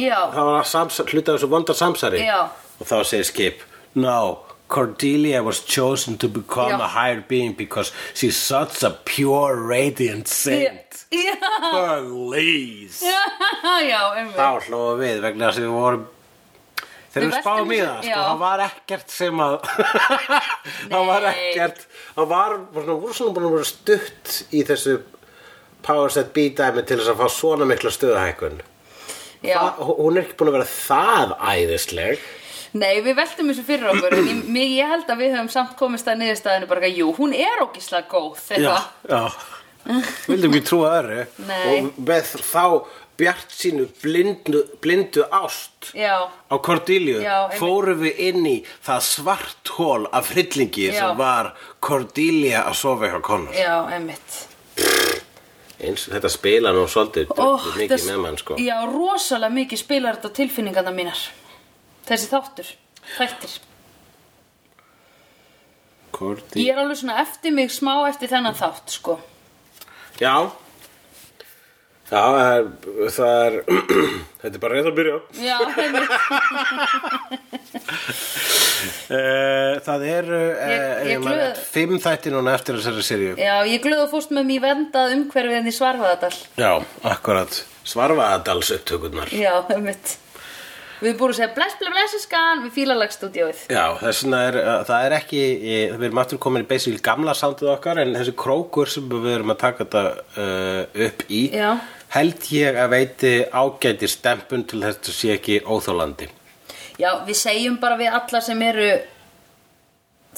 B: já,
C: það var sams, hluta af þessu vonda samsæri
B: Já.
C: og þá segir skip no Cordelia was chosen to become
B: Já.
C: a higher being because she's such a pure radiant saint
B: já,
C: please
B: já, einmitt
C: þá hlóðum við vegna þess að við vorum þegar
B: Við
C: við spáum í
B: veltum
C: það
B: þessu-
C: sko,
B: já.
C: það var ekkert sem að það var
B: Nei.
C: ekkert það var bara svona voru svona búin að vera stutt í þessu Power Set B dæmi til þess að fá svona mikla stöðahækun
B: Já,
C: Það- hún er ekki búin að vera það æðisleg
B: nei, við veltum þessu fyrir okkur En ég, mig- ég held að við höfum samt komist að niðurstaðinu bara eitthvað, Jú, hún er ógislega góð eitthvað.
C: já vildum ekki trúa öðru
B: Nei.
C: og með þá bjart sínu blindu, blindu ást
B: Já,
C: á Cordelia
B: Já, einmitt.
C: fórum við inn í það svart hól af hryllingi
B: Já.
C: sem var Cordelia að sofa hjá Connors
B: já, einmitt
C: eins og þetta spila nú svolítið
B: oh,
C: mikið
B: þess-
C: með mann sko
B: Já, rosalega mikið spilar þetta á tilfinningarna mínar Þessi þáttur, þættir
C: Cordelia
B: Ég er alveg svona eftir mig smá eftir þennan þátt, sko
C: já já það er, það er þetta er bara reynd að byrja
B: Já, einmitt.
C: uh, það eru
B: Ég- ég glöð-
C: uh, fimm þætti núna eftir þessari serju
B: já ég glöðu að fórst með mér vendað umhverfið en í Svarfaðadal
C: já, akkurat svarfaðadals upptökurnar
B: Já, einmitt Við erum búin að segja bless, bless, bless, skan við fílalagstúdíóið
C: Já, þess vegna er, uh, það er ekki, eh, við erum aftur komin í basically gamla soundið okkar en þessi krókur sem við erum að taka þetta uh, upp í
B: Já.
C: held ég að veiti ágæti stempun til þess að sé ekki óþólandi.
B: Já, við segjum bara við alla sem eru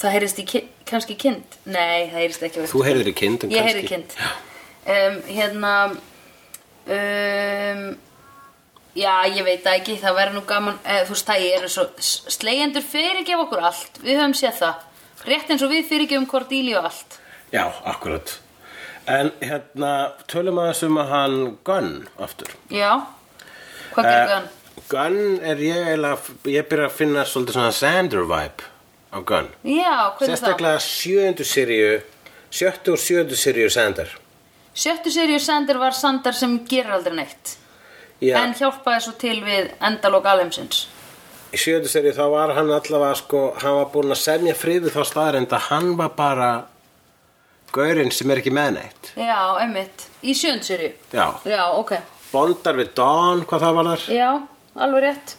B: Það heyrist í ki kannski kind Nei, það heyrist ekki á
C: Þú heyrðir í kind en
B: Ég
C: kannski...
B: heyrði kind um, Hérna um, Já, ég veit það ekki Það verður nú gaman eh, Þú veist það, ég er svo Slegjendur fyrirgef okkur allt Við höfum séð það Rétt eins og við fyrirgefum Cordelia og allt
C: Já, akkurat. En hérna, tölum aðeins um að hann Gunn aftur. Eh,
B: Já Hvað gerir hann?
C: Gunn er ég eiginlega, ég byrja að finna svolítið svona Sander vibe á Gunn.
B: Já, hvernig það?
C: Sérstaklega sjöundu sirju, sjöttu og sjöundu sirju Sander.
B: Sjöttu seríu Sander var Sander sem gerir aldrei neitt
C: Já,
B: en hjálpaði svo til við endalók alheimsins
C: í sjöðu serið þá var hann allavega sko, hann var búinn að semja frið við þá staðarind að hann var bara gaurinn sem er ekki með neitt.
B: Já, einmitt, í sjöndu seríu
C: Já,
B: Já, ok,
C: bondar við Don, hvað það var þar?
B: já, alveg rétt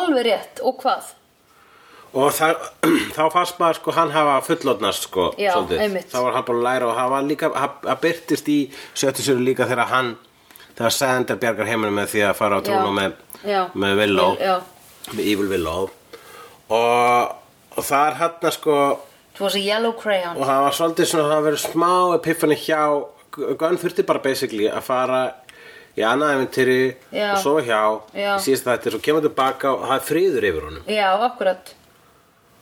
B: Alveg rétt, og hvað?
C: Og það, þá fannst maður sko hann hafa fullotnast sko
B: Já, einmitt.
C: Þá var hann búin að læra og það var líka að byrtist í sjöttu sér líka þegar hann þegar Sander bjargar heiminum með því að fara á trúna með,
B: já,
C: með Villó
B: Já,
C: með Evil Villó og, og það er hann sko og
B: það var svo Yellow Crayon
C: það var svolítið svona það var verið smá epifanni hjá Gunn þurfti bara basically að fara í annað eventyri
B: Já.
C: og svo hjá
B: Já.
C: í síðast þetta svo kemur tilbaka og það er friður yfir honum
B: Já, akkurat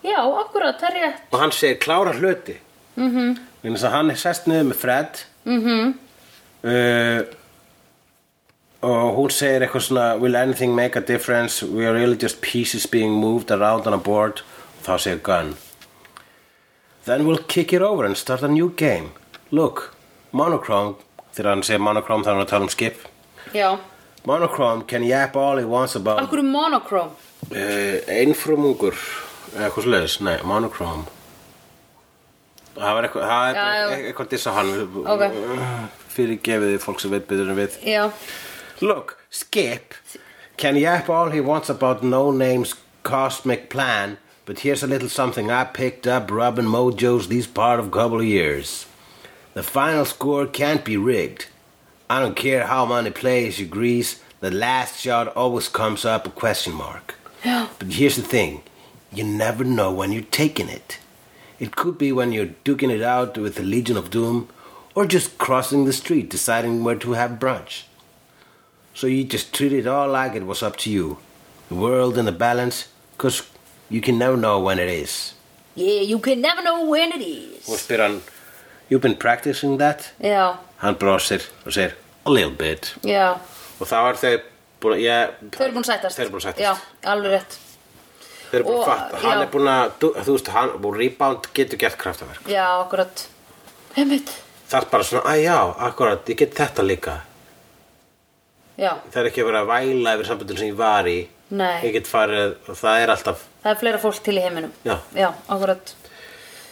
B: Já, akkurat, það er rétt
C: og hann segir klára hluti mm -hmm. hann er sest niður með Fred mm -hmm. og hún segir eitthvað svona will anything make a difference we are really just pieces being moved around on a board og þá segir Gunn then we'll kick it over and start a new game look, monochrome þegar hann segir monochrome þá er hann að tala um skip
B: Já,
C: monochrome can yap all he wants about
B: af hverju monochrome
C: Uh, einfrumungur eða eitthvað svoleiðis, nei, monochrome það var eitthvað það
B: Já, já.
C: er eitthvað dissa hann
B: Ok.
C: fyrir gefið fólk sem veit betur en við
B: Já,
C: look, skip can yap all he wants about no name's cosmic plan but here's a little something I picked up rubbing mojos these part of couple of years the final score can't be rigged I don't care how many players you grease the last shot always comes up a question mark
B: já,
C: but here's the thing you never know when you're taking it. It could be when you're duking it out with the Legion of Doom, or just crossing the street deciding where to have brunch. So you just treat it all like it was up to you. The world in the balance, 'cause you can never know when it is.
B: yeah, you can never know when it is
C: spyr hann, you've been practicing that?
B: Já,
C: Hann brosir og segir, a little bit.
B: já,
C: Og þá er þau búin að, já,
B: þau eru búin að sættast
C: Þau eru búin að sættast.
B: Já, alveg rétt
C: Þau eru búin að
B: Og,
C: fatta. Hann
B: já.
C: er búin að, þú, þú veist, hann, rebound getur gert kraftaverk.
B: Já, akkurat Einmitt
C: Það er bara svona, að já, akkurat, ég get þetta líka.
B: Já,
C: Það er ekki að vera að væla yfir sambundin sem ég var í.
B: Nei.
C: Ég get farið, og það er alltaf,
B: það er fleira fólk til í heiminum
C: Já.
B: já akkurat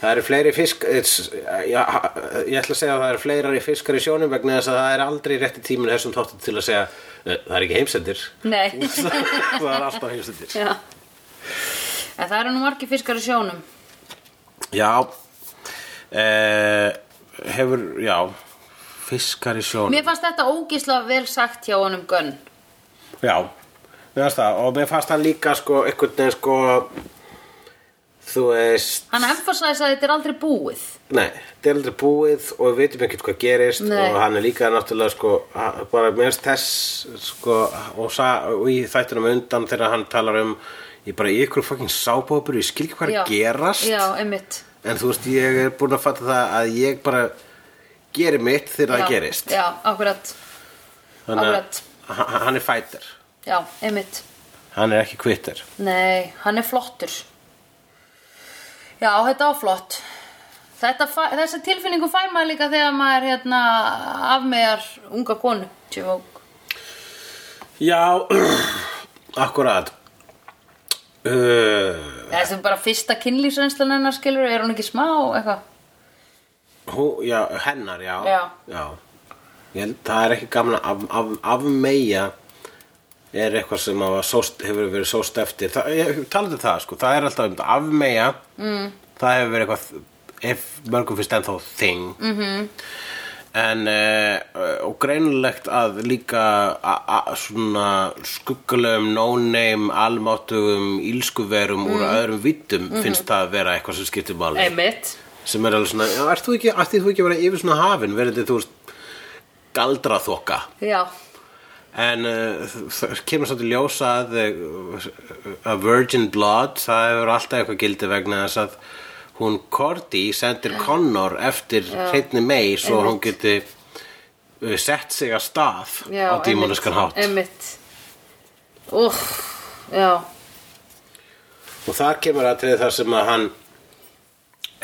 C: það eru fleiri fisk, ets, já, eh, ég ætla að segja að það eru fleiri fiskar í sjónum vegna þess að það er aldrei rétti tíminu þessum þáttum til að segja, "Eh, það er ekki heimsendir.
B: Nei,
C: það er alltaf heimsendir.
B: já En það eru nú margir fiskar í sjónum
C: Já, eh, hefur, já, fiskar í sjónum.
B: Mér fannst þetta ógisla vel sagt hjá honum Gunn
C: Já, mér fannst það og mér fannst það líka sko einhvern veginn sko þú veist
B: Hann emfasæðis að þetta er aldrei búið
C: nei, þetta er aldrei búið og við veitum ekkert hvað gerist
B: Nei.
C: og hann er líka náttúrulega sko ha- bara mér finnst þess sko og, sa, og í þættunum á undan þegar hann talar um ég bara í ykkur fucking sábópur ég skil ekki hvað er
B: Já.
C: að gerast
B: Já, einmitt
C: en þú veist ég er búin að fatta það að ég bara geri mitt þegar
B: Já,
C: það gerist
B: Já, akkurat akkurat.
C: að h- hann er fætir
B: Já, einmitt
C: hann er ekki kvittir
B: Nei, hann er flottur Já, þetta var flott Þetta, fæ- Þessa tilfinningu fær maður líka þegar maður hérna, afmegar unga konu Tjöfók
C: Já, akkurat uh,
B: Þessi bara fyrsta kynlýfsreynslan hennar skilur, er hún ekki smá eitthvað?
C: hú, já, Hennar, já
B: Já.
C: Ég held það er ekki gaman að af, af, afmeja er eitthvað sem hafa sóst, hefur verið sóst eftir Þa, ég, Talandi um það, sko, það er alltaf um þetta afmeja mm. Það hefur verið eitthvað ef mörgum finnst ennþá þing mm -hmm. En uh, og greinilegt að líka a- a- svona skuggulegum, no-name, almáttugum, ílskuverum úr öðrum vittum finnst það að vera eitthvað sem skiptir máli
B: Einmitt.
C: sem er alveg svona, já, ert þú ekki, ætti þú ekki að vera yfir svona hafin, verðið þú veist galdraþoka
B: Já,
C: en uh, það kemur svolítið ljósa að uh, að virgin blood, það hefur alltaf eitthvað gildi vegna þess að hún Cordy sendir Connor eftir hreinni mei svo
B: einmitt.
C: hún geti uh, sett sig að stað
B: já.
C: á dímoniskan
B: einmitt,
C: hátt
B: Einmitt. Úff, já,
C: og þar kemur aðtrið þar sem að hann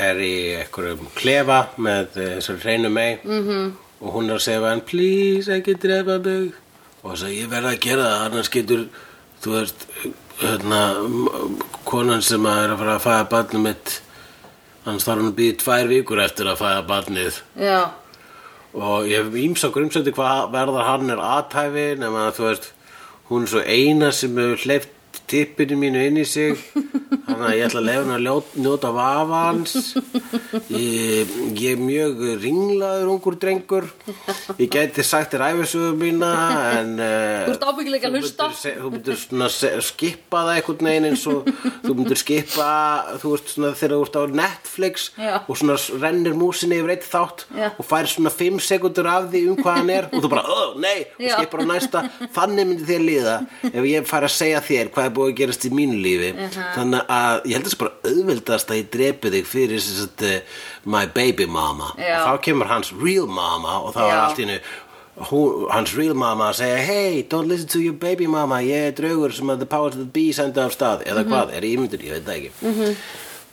C: er í einhverjum klefa með eh, þessari hreinu mei -hmm. og hún er að segja við hann please ekki drepa mig og þess að ég verða að gera það annars getur þú veist hérna, m- konan sem að er að fara að fæða barnið mitt annars þarf hún að býða tvær vikur eftir að fæða barnið
B: Já,
C: og ég hef ímsa grumsandi hvað verðar hann er aðtæfi nema að þú veist hún er svo eina sem hefur hleyft tippinu mínu inn í sig þannig að ég ætla að leifa hann að ljó- njóta vafa hans ég, ég er mjög ringlaður ungur drengur ég gæti sagt þér æfisögum mína en uh,
B: Þú ert ábyggilega að hlusta.
C: se, þú myndir svona se, skipa það einhvern veginn eins og þú myndir skipa þú veist svona þegar þú ert á Netflix
B: Já.
C: og svona rennir músinni yfir eitt þátt
B: Já.
C: og fær svona 5 sekundur af því um hvað hann er og þú bara, oh, nei, og
B: Já.
C: skipar á næsta þannig myndi þér líða ef ég fær að segja þér hvað er búið að gerast í mínu lífi þannig að ég held að þessi bara auðveldast að ég drepi þig fyrir sem sagt, eh, my baby mama
B: Já.
C: og þá kemur hans real mama og þá er
B: Já.
C: allt í hennu Hún, hans real mama að segja hey, don't listen to your baby mama ég er draugur sem að the powers that be senda af stað eða
B: Mhm.
C: hvað, er ímyndur, ég veit það ekki -hmm.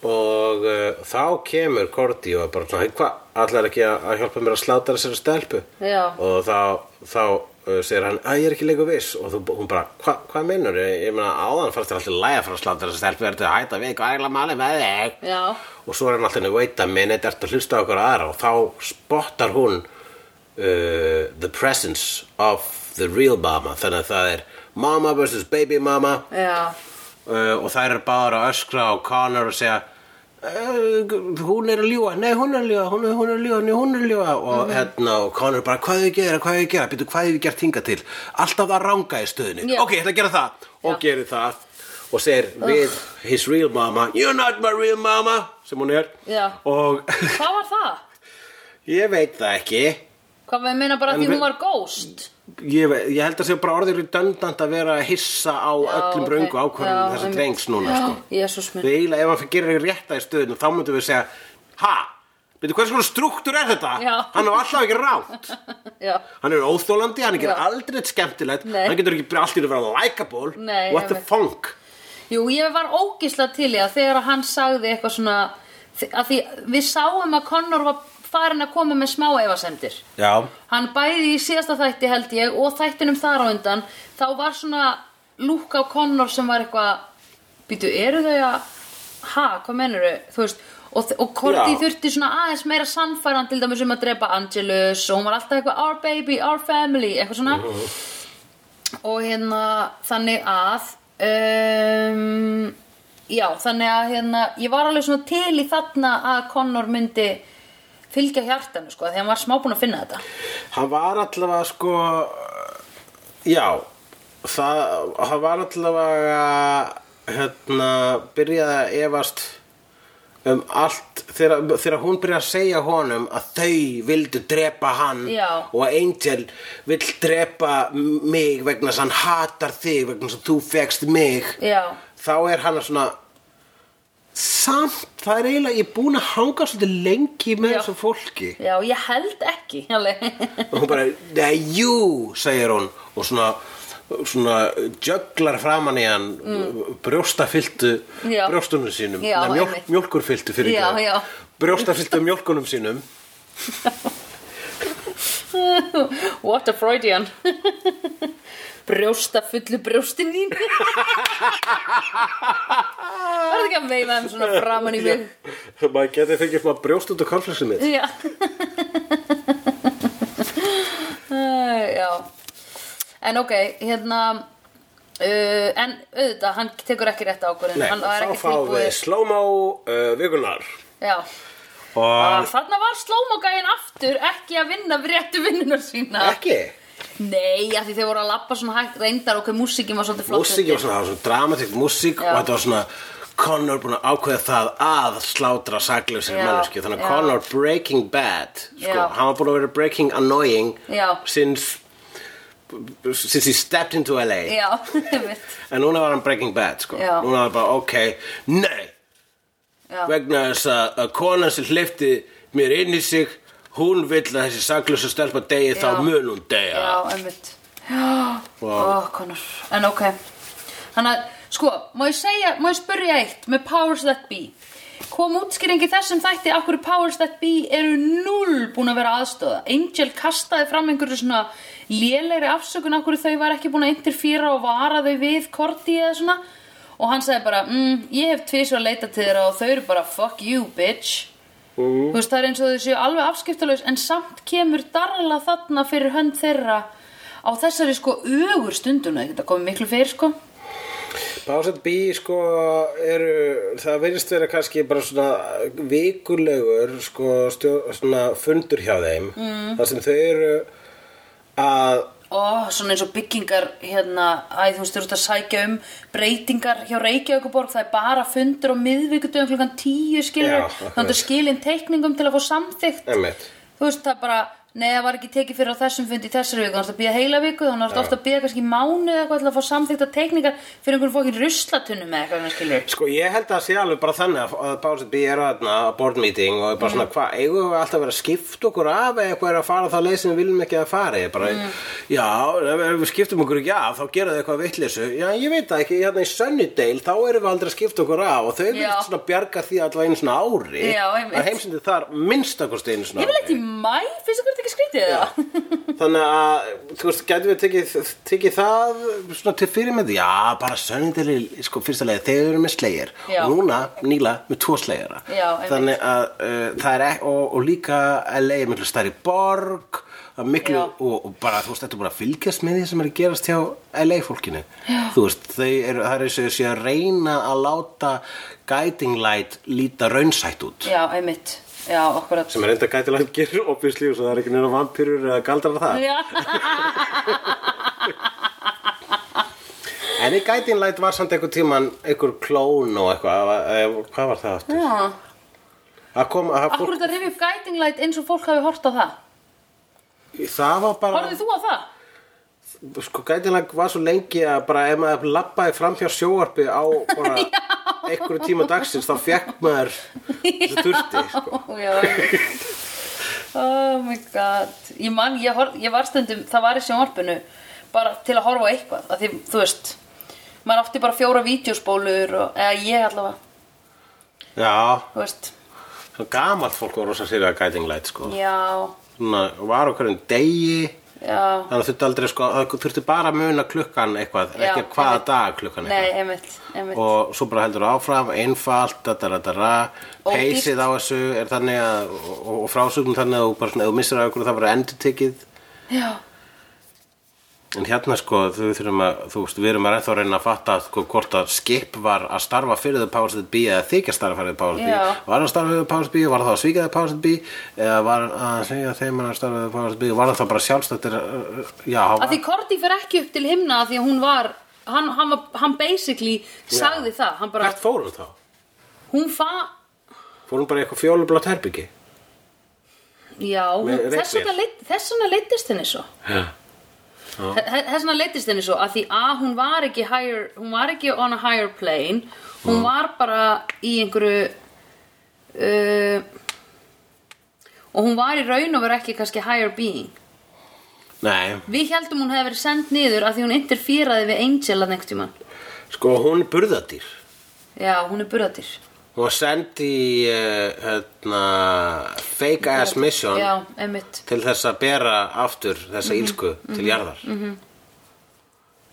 C: og uh, þá kemur Korti og er bara, "Hey, hvað, allar ekki að, að hjálpa mér að slátra sér að stelpu
B: Já.
C: og þá, þá uh, segir hann að ég er ekki leikur viss og þú, hún bara, "Hva- hvað meinar ég meina áðan fannst þér alltaf lægja frá að slátra sér stelpu ertu að hætta við, hvað er eiginlega máli með þig
B: já,
C: og svo er hann alltaf henni wait a minute ertu að hlusta á okkur aðra og þá spottar hún uh, the presence of the real mama þannig að það er mama versus baby mama
B: já
C: uh, og þær eru báðar að öskra á Connor og segja "Eh, hún er að ljúa, nei hún er að ljúa hún er, hún er að ljúa, nei hún er að ljúa og
B: Mhm.
C: hérna og Connor bara hvað hefur gera, hvað hefur gera býtu hvað hefur gert hinga til, alltaf að ranga í stöðinu,
B: Já.
C: ok, ég ætla að gera það og gerir það og segir við his real mama, you're not my real mama sem hún er
B: Já.
C: og
B: Hvað var það?
C: ég veit það ekki
B: Hvað við meina bara
C: En
B: því
C: við-
B: hún var ghost?
C: Ég, veit- ég held að sé bara orðið redundant að vera að hissa á öllum
B: ok.
C: bröngu
B: Já,
C: ákvörðum þessa
B: einmitt.
C: drengs núna sko.
B: Jésús minn
C: Við eiginlega ef hann gerir ekki rétta í stöðinu þá myndum við segja Ha? Veitu hvers konar struktúr er þetta?
B: Já.
C: Hann er alltaf ekki rátt
B: Já,
C: Hann er óþólandi, hann er
B: Já.
C: ekki aldrei neitt skemmtilegt
B: Nei.
C: Hann getur ekki allt í að vera likeable
B: Nei,
C: What the
B: einmitt.
C: funk?
B: Jú, ég var ógisla til í að þegar hann sagði eitthvað svona að því við sáum að Connor var farin að koma með smá efasemdir
C: Já
B: hann bæði í síðasta þætti held ég og þættinum þar á undan þá var svona lúk á Connor sem var eitthvað býtu, eru þau að ha, hvað menur þau, þú veist og, og Korti
C: Já.
B: þurfti svona aðeins meira sannfæran til dæmis um að drepa Angelus og hún var alltaf eitthvað our baby, our family, eitthvað svona og hérna þannig að um, já, þannig að hérna, ég var alveg svona til í þarna að Connor myndi fylgja hjartanu sko, því hann var smá búinn að finna þetta
C: Hann var allavega sko Já Það, hann var allavega hérna, byrjaði að efast um allt þegar, þegar hún byrjaði að segja honum að þau vildu drepa hann
B: Já.
C: og að Angel vill drepa mig vegna þess að hann hatar þig vegna þess að þú fegst mig
B: Já,
C: þá er hann svona samt, það er eiginlega ég er búin að hanga svolítið lengi með
B: Já.
C: þessu fólki
B: já, ég held ekki alveg.
C: og hún bara, nei, jú, segir hún og svona, svona jöglar framan í hann mm. brjóstafylltu
B: Já.
C: brjóstunum sínum
B: Já,
C: Nei, mjólk,
B: einmitt.
C: mjólkurfylltu fyrir
B: Já, já.
C: brjóstafylltu mjólkunum sínum
B: What a Freudian Brjósta fullu brjóstin þín Var það ekki að veifa þeim svona framan í mig
C: Já. maður getið fengið svona brjóst út á konflexið mitt
B: Já Æ, Já En ok, hérna uh, En auðvitað, hann tekur ekki rétt ákvörðin
C: Nei,
B: hann
C: og
B: er
C: þá
B: ekki
C: fáum við
B: tilbúið
C: slow-mo uh, vikunar
B: Já,
C: og
B: þarna var slómogæin aftur ekki að vinna við réttu vinnunar sína
C: ekki
B: Nei, af því þau voru að lappa svona hægt reyndar ok, músikin var svolítið flott
C: músík var svona, það var svona dramatíkt músík
B: Já.
C: og þetta var svona Connor búin að ákveða það að slátra saglausir
B: Já,
C: manneski þannig
B: já.
C: að Connor breaking bad sko,
B: Já.
C: hann var búin að vera breaking annoying
B: Já.
C: since since he stepped into LA
B: Já, einmitt
C: en núna var hann breaking bad sko.
B: Já.
C: núna var bara ok, nei
B: Já.
C: vegna þess að, að konan sem hlifti mér inn í sig hún vill að þessi saglausa stelpa degi
B: Já.
C: þá mun hún degja
B: Já, einmitt Ó, Connor, en ok Þannig að, sko, má ég segja, má ég spyrja eitt með Powers That Be kom útskýringi þessum þætti af hverju powers that be eru null búin að vera aðstöða Angel kastaði fram einhverju svona lélegri afsökun af hverju þau var ekki búin að interfýra og vara þau við Korti eða svona og hann sagði bara, mm, ég hef tvisvar leitað til þeirra og þau eru bara fuck you bitch Þú veist, það er eins og þau séu alveg afskiptalaus en samt kemur darla þarna fyrir hönd þeirra á þessari sko ögur stunduna, þetta komið miklu fyrir sko.
C: Pásat B sko eru, það verðist vera kannski bara svona vikulegur sko stjó, svona fundur hjá þeim mm. þar sem þau eru að
B: Ó, svona eins og byggingar hérna, æ, þú veist, þú veist að sækja um breytingar hjá Reykjavíkuborg, það er bara fundur á miðvikudöðum klukkan tíu skilur,
C: Já, akkurat.
B: þannig að skilin teikningum til að fá samþykkt.
C: emmitt,
B: Þú veist, það bara, nei, það var ekki tekið fyrir á þessum fundi í þessari viku, þannig að býja heila viku, þannig að ofta að býja kannski mánuð eitthvað til að fá samþykta teikningar fyrir einhvern fókin ruslatunum eða eitthvað, skilur.
C: sko ég held að það sé alveg bara þannig að- að Pásat B eru þarna að board meeting og er bara
B: Mm.
C: svona hvað, eigum við alltaf að vera að skipta okkur af eða eitthvað er að fara þá leið sem við viljum ekki að fara ég bara,
B: Mm.
C: já, ef ef við skiptum okkur ekki af þá gera þau eitthvað vittleysu já, ég veit það ekki, hérna í Sunnydale þá erum við aldrei að skipta okkur af og þau
B: Já.
C: vilt svona bjarga því allavega einu svona ári
B: Já, einmitt.
C: að heimsindi þar minnstakosti einu svona
B: Ég vil eitthvað í mæ, finnst þú hvernig ekki skrítið það?
C: þannig að, þú veist, gætum við tekið, tekið það svona til fyrir með já, bara söndili, sko, fyrsta leið þegar við erum með slegir
B: Já.
C: og núna, Níla, með tvo slegjara
B: Já, einmitt.
C: þannig að uh, það er ekki, og, og líka LA er miklu stærri borg það er miklu,
B: Já.
C: og, og bara, þú veist, þetta er bara að fylgjast með því sem er að gerast hjá LA fólkinu, já. þú veist, þau eru það er eins og þau séu að reyna að láta guiding light líta raunsætt út
B: Já, einmitt, já, okkur að...
C: sem er enda gætilega að gera obviously og svo það er ekki neina vampýrur eða galdrar það
B: Já,
C: En í Guiding Light var samt einhver tíman einhver klón og eitthvað eh, hvað var það aftur?
B: já.
C: Það, kom, það,
B: Akkur
C: fór,
B: þetta rifið upp guiding light eins og fólk hafi hort á það.
C: það var bara
B: Horfið þú á það?
C: sko, Guiding Light var svo lengi að bara ef maður labbaði fram hjá sjóarpi á bara einhverju tíma dagsins þá fekk maður þessu þurfti sko.
B: Ó, já, einmitt. oh my god. Ég man, ég, hor, ég var stundum, það var í sjónvarpinu bara til að horfa á eitthvað. Að því, þú veist, maður átti bara fjóra vídeospólur og, eða ég allavega,
C: Já,
B: þú veist.
C: svo gamalt fólk var rosa sér að Guiding Light sko.
B: Já,
C: Svona, var okkur en degi
B: já.
C: þannig að þurfti aldrei sko, það þurfti bara að muna klukkan eitthvað,
B: Já,
C: ekki hvaða
B: einmitt.
C: dag klukkan eitthvað
B: Nei, einmitt, einmitt.
C: og svo bara heldur áfram einfalt, dadadadara
B: Ódýrt.
C: peysið á þessu er þannig að og, og frásugum þannig að þú bara svona, ef þú missir af ykkur það bara endurtekið
B: Já,
C: en hérna sko, þú þurfum að þú veist, við erum að reyna að reyna að fatta sko, hvort að skip var að starfa fyrir þau Powers that Be eða þykja starfa fyrir þau Powers that
B: Já.
C: Be var að starfa fyrir þau Powers that Be, var það að svíka þau Powers that Be eða var að segja þeim að starfa fyrir þau Powers that Be, var það bara sjálfstættir uh, já, hann
B: að
C: var
B: því Korti fer ekki upp til himna að því að hún var, hann, hann, var- hann basically sagði það, hann bara,
C: hvert fór hún þá?
B: hún fa,
C: fór hún bara í eitthvað fjólublátt herbyggi?
B: já, hún,
C: Með
B: þess vegna
C: regnvél.
B: leidd- þess vegna leittist henni svo.
C: Já.
B: Þe- þe- Þess vegna leittist henni svo að því að hún var ekki higher, hún var ekki on a higher plane, hún var bara í einhverju, uh, og hún var í raun og var ekki kannski higher being.
C: Nei,
B: Við heldum hún hefði verið send niður að því hún interfíraði við Angel að neitt tíma.
C: sko hún er burðadýr
B: Já, hún er burðatir.
C: Hún var send í uh, hérna, fake ass mission
B: Já, Mhm. einmitt.
C: til þess að bera aftur þessa ílsku til jarðar.
B: Mhm.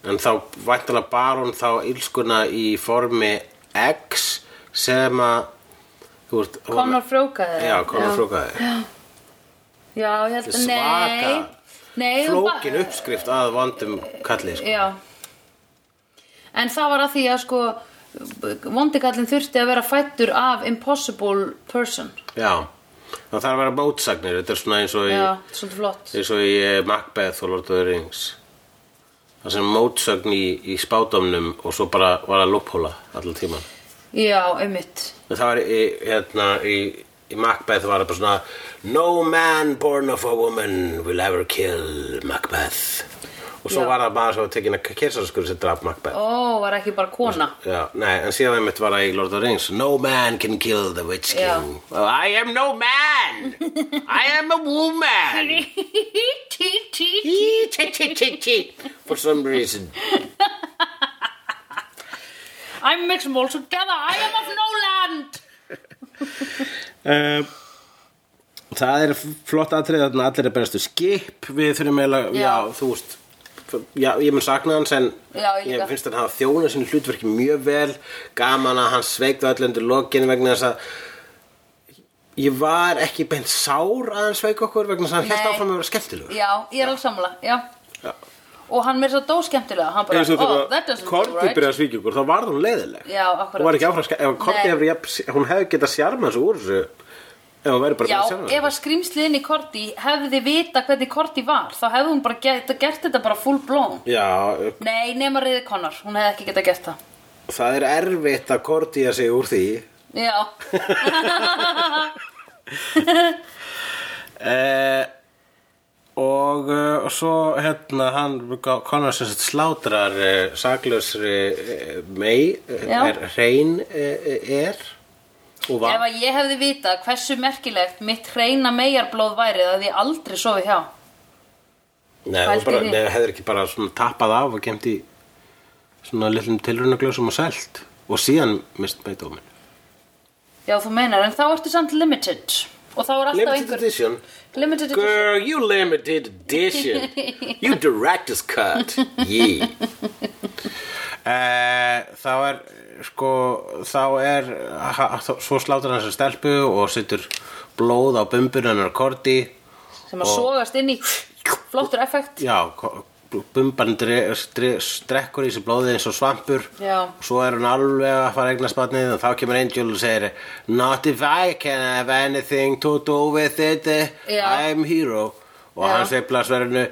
C: En þá væntalega bar hún þá ílskuna í formi X sem að þú veist hún-
B: Connor frókaði það.
C: Já, Conor frókaði.
B: Já, ég held að,
C: Svaka.
B: nei. Nei, hún ba-
C: Flókin uppskrift að vondum kalli sko.
B: Já En það var að því að sko vondikallin þurfti að vera fættur af impossible person
C: Já. Það þarf að vera mótsagnir, þetta er svona eins og í
B: Já, svolítið flott
C: eins og í eh, Macbeth og Lord of the Rings það sem mótsögn í, í spátumnum og svo bara var að loophóla allan tíman
B: Já, einmitt
C: en það var í, hérna, í, í Macbeth var það bara svona no man born of a woman will ever kill Macbeth og svo
B: Já.
C: var það bara svo tekin að kesarskur sem draf Macbeth
B: Ó, var ekki bara kona
C: Já, nei, en síðan einmitt var það í Lord of the Rings No man can kill the Witch King
B: Já.
C: well, I am no man I am a woman
B: Tí, tí
C: Tee, tee, tee, tee, tee, For some reason
B: I mix them all together I am of no land
C: uh, það er flott atrið að allir er bestu skip við þurfum eiginlega, já.
B: Já.
C: þú veist já, ég mun sakna hans en
B: Já, ég líka.
C: finnst að hann hafa þjóna sinni hlutverki mjög vel gaman að hann sveiktu allir undir lokin vegna þess að ég var ekki beint sár að hann sveik okkur vegna þess að hann
B: Nei.
C: held áfram að vera skemmtilegur
B: Já, ég er alveg sammála, já
C: Já.
B: Og hann mér svo dó skemmtilega Hann bara,
C: eins og
B: oh, that
C: þegar
B: doesn't
C: Korti
B: look right
C: byrjaði að svíkja okkur, þá var hún leiðileg
B: Já, akkurat.
C: hún var ekki áfram, ef Korti
B: Nei.
C: hefur jafn- hún hefði getað sjarma þessu úr þessu ef hún væri bara búin
B: Já,
C: að sjarma
B: ef að skrýmsliðin í Korti hefði vita hvernig Korti var þá hefði hún bara gert, gert þetta bara full blown
C: Já,
B: Nei, nema reyði konar, hún hefði ekki getað gert það
C: það er erfitt að kortía sig úr því
B: Já,
C: eh, og, eh, og svo hérna hann konar sem sagt slátrar eh, saklausri eh, mei eh,
B: Já.
C: er hrein eh, er og
B: ef
C: var
B: að ég hefði vita hversu merkilegt mitt hreina megarblóð væri það hefði ég aldrei sofið hjá
C: Nei, þú
B: Pældi
C: bara,
B: í því.
C: nei, hefur ekki bara svona tappað af og gemt í svona litlum tilraunaglösum og selt og síðan mist með dómin
B: Já, þú meinar, en þá ertu samt limited og þá er alltaf
C: Limited
B: einhver
C: edition
B: Limited edition
C: Girl, you limited edition. you director's cut. Yeah. Uh, þá er sko, þá er ha, þó- svo slátur hann sem stelpu og setur blóð á bumbunum hennar Korti
B: sem að sogast inn í flottur effekt
C: já, ko- bumban dre, dre, strekkur í sér blóðið eins og svampur
B: Já.
C: og svo er hún alveg að fara að eigna spatnið og þá kemur Angel og segir not if I can have anything to do with it
B: Já.
C: I'm hero og
B: Já.
C: hann sveiflar sverðinu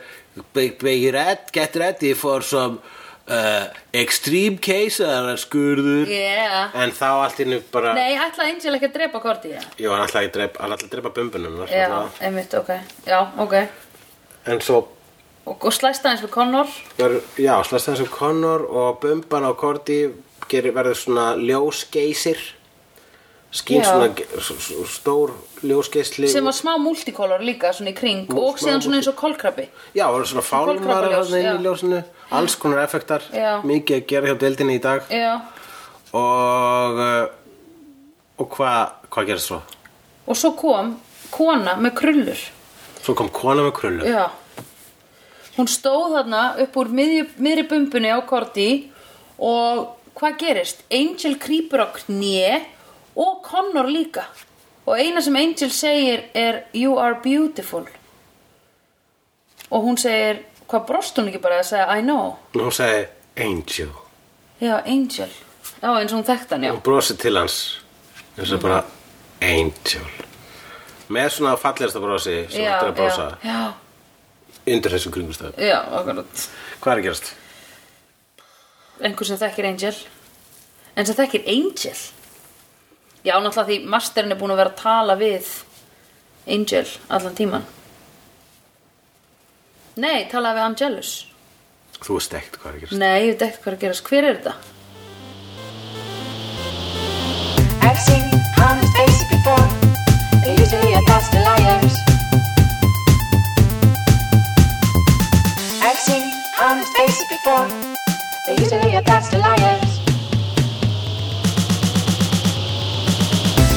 C: be, be red, get ready for some uh, extreme keisar skurður
B: Yeah
C: en þá allt innu bara
B: Nei, ætlaði Angel ekki að drepa Korti, já
C: Jú, hann ætlaði að drepa, hann ætlaði að drepa bumbunum
B: Já, einmitt, ok Já, ok
C: en svo
B: og, og slæst aðeins við Connor
C: Ver, já, slast það sem Connor og Bumban á Korti gerir, verður svona ljósgeisir skín
B: Já.
C: svona ge- s- s- stór ljósgeisli
B: sem var smá multicolor líka svona í kring
C: Mú-
B: og
C: smá
B: síðan svona eins og kolkrabbi
C: já, verður svona fálmarar
B: kolkrabbaljós,
C: þarna inn í
B: já.
C: ljósinu alls konar effektar,
B: Já.
C: mikið að gera hjá deildinni í dag
B: já
C: og uh, og hvað hva gerist svo?
B: og svo kom kona með krullur
C: Svo kom kona með krullu
B: já hún stóð þarna upp úr miðju, miðri bumbunni á Korti og hvað gerist? Angel krýpur á kné og Connor líka og eina sem Angel segir er you are beautiful og hún segir hvað brost hún ekki bara að segja I know
C: og hún segi Angel
B: Já, Angel. Já, eins og hún þekkt hann, já.
C: og brosi til hans eins og bara
B: Mhm.
C: Angel með svona fallegasta brosi sem
B: já,
C: þetta er að brosa
B: Já, já,
C: undir þessum kringumstæðum
B: já, akkurat.
C: Hvað er að gerast?
B: Einhver sem þekkir Angel. En sem þekkir Angel. Já, náttúrulega því masterinn er búin að vera að tala við Angel allan tíman. Nei, talaði við Angelus.
C: Þú veist ekkert hvað er að gerast.
B: Nei, ég veit ekkert hvað er að gerast. Hver er þetta?
D: I've seen honest faces before. They're usually a pass to liars. I've seen honest faces before. They're usually a pass to liars.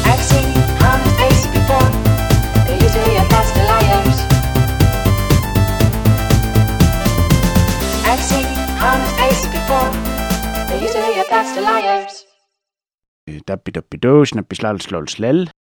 D: I've seen honest faces before. They're usually a pass to liars. I've seen honest faces before. They're usually a pass to liars.
E: Dabbi dabbi dó, snabbi slal slól slell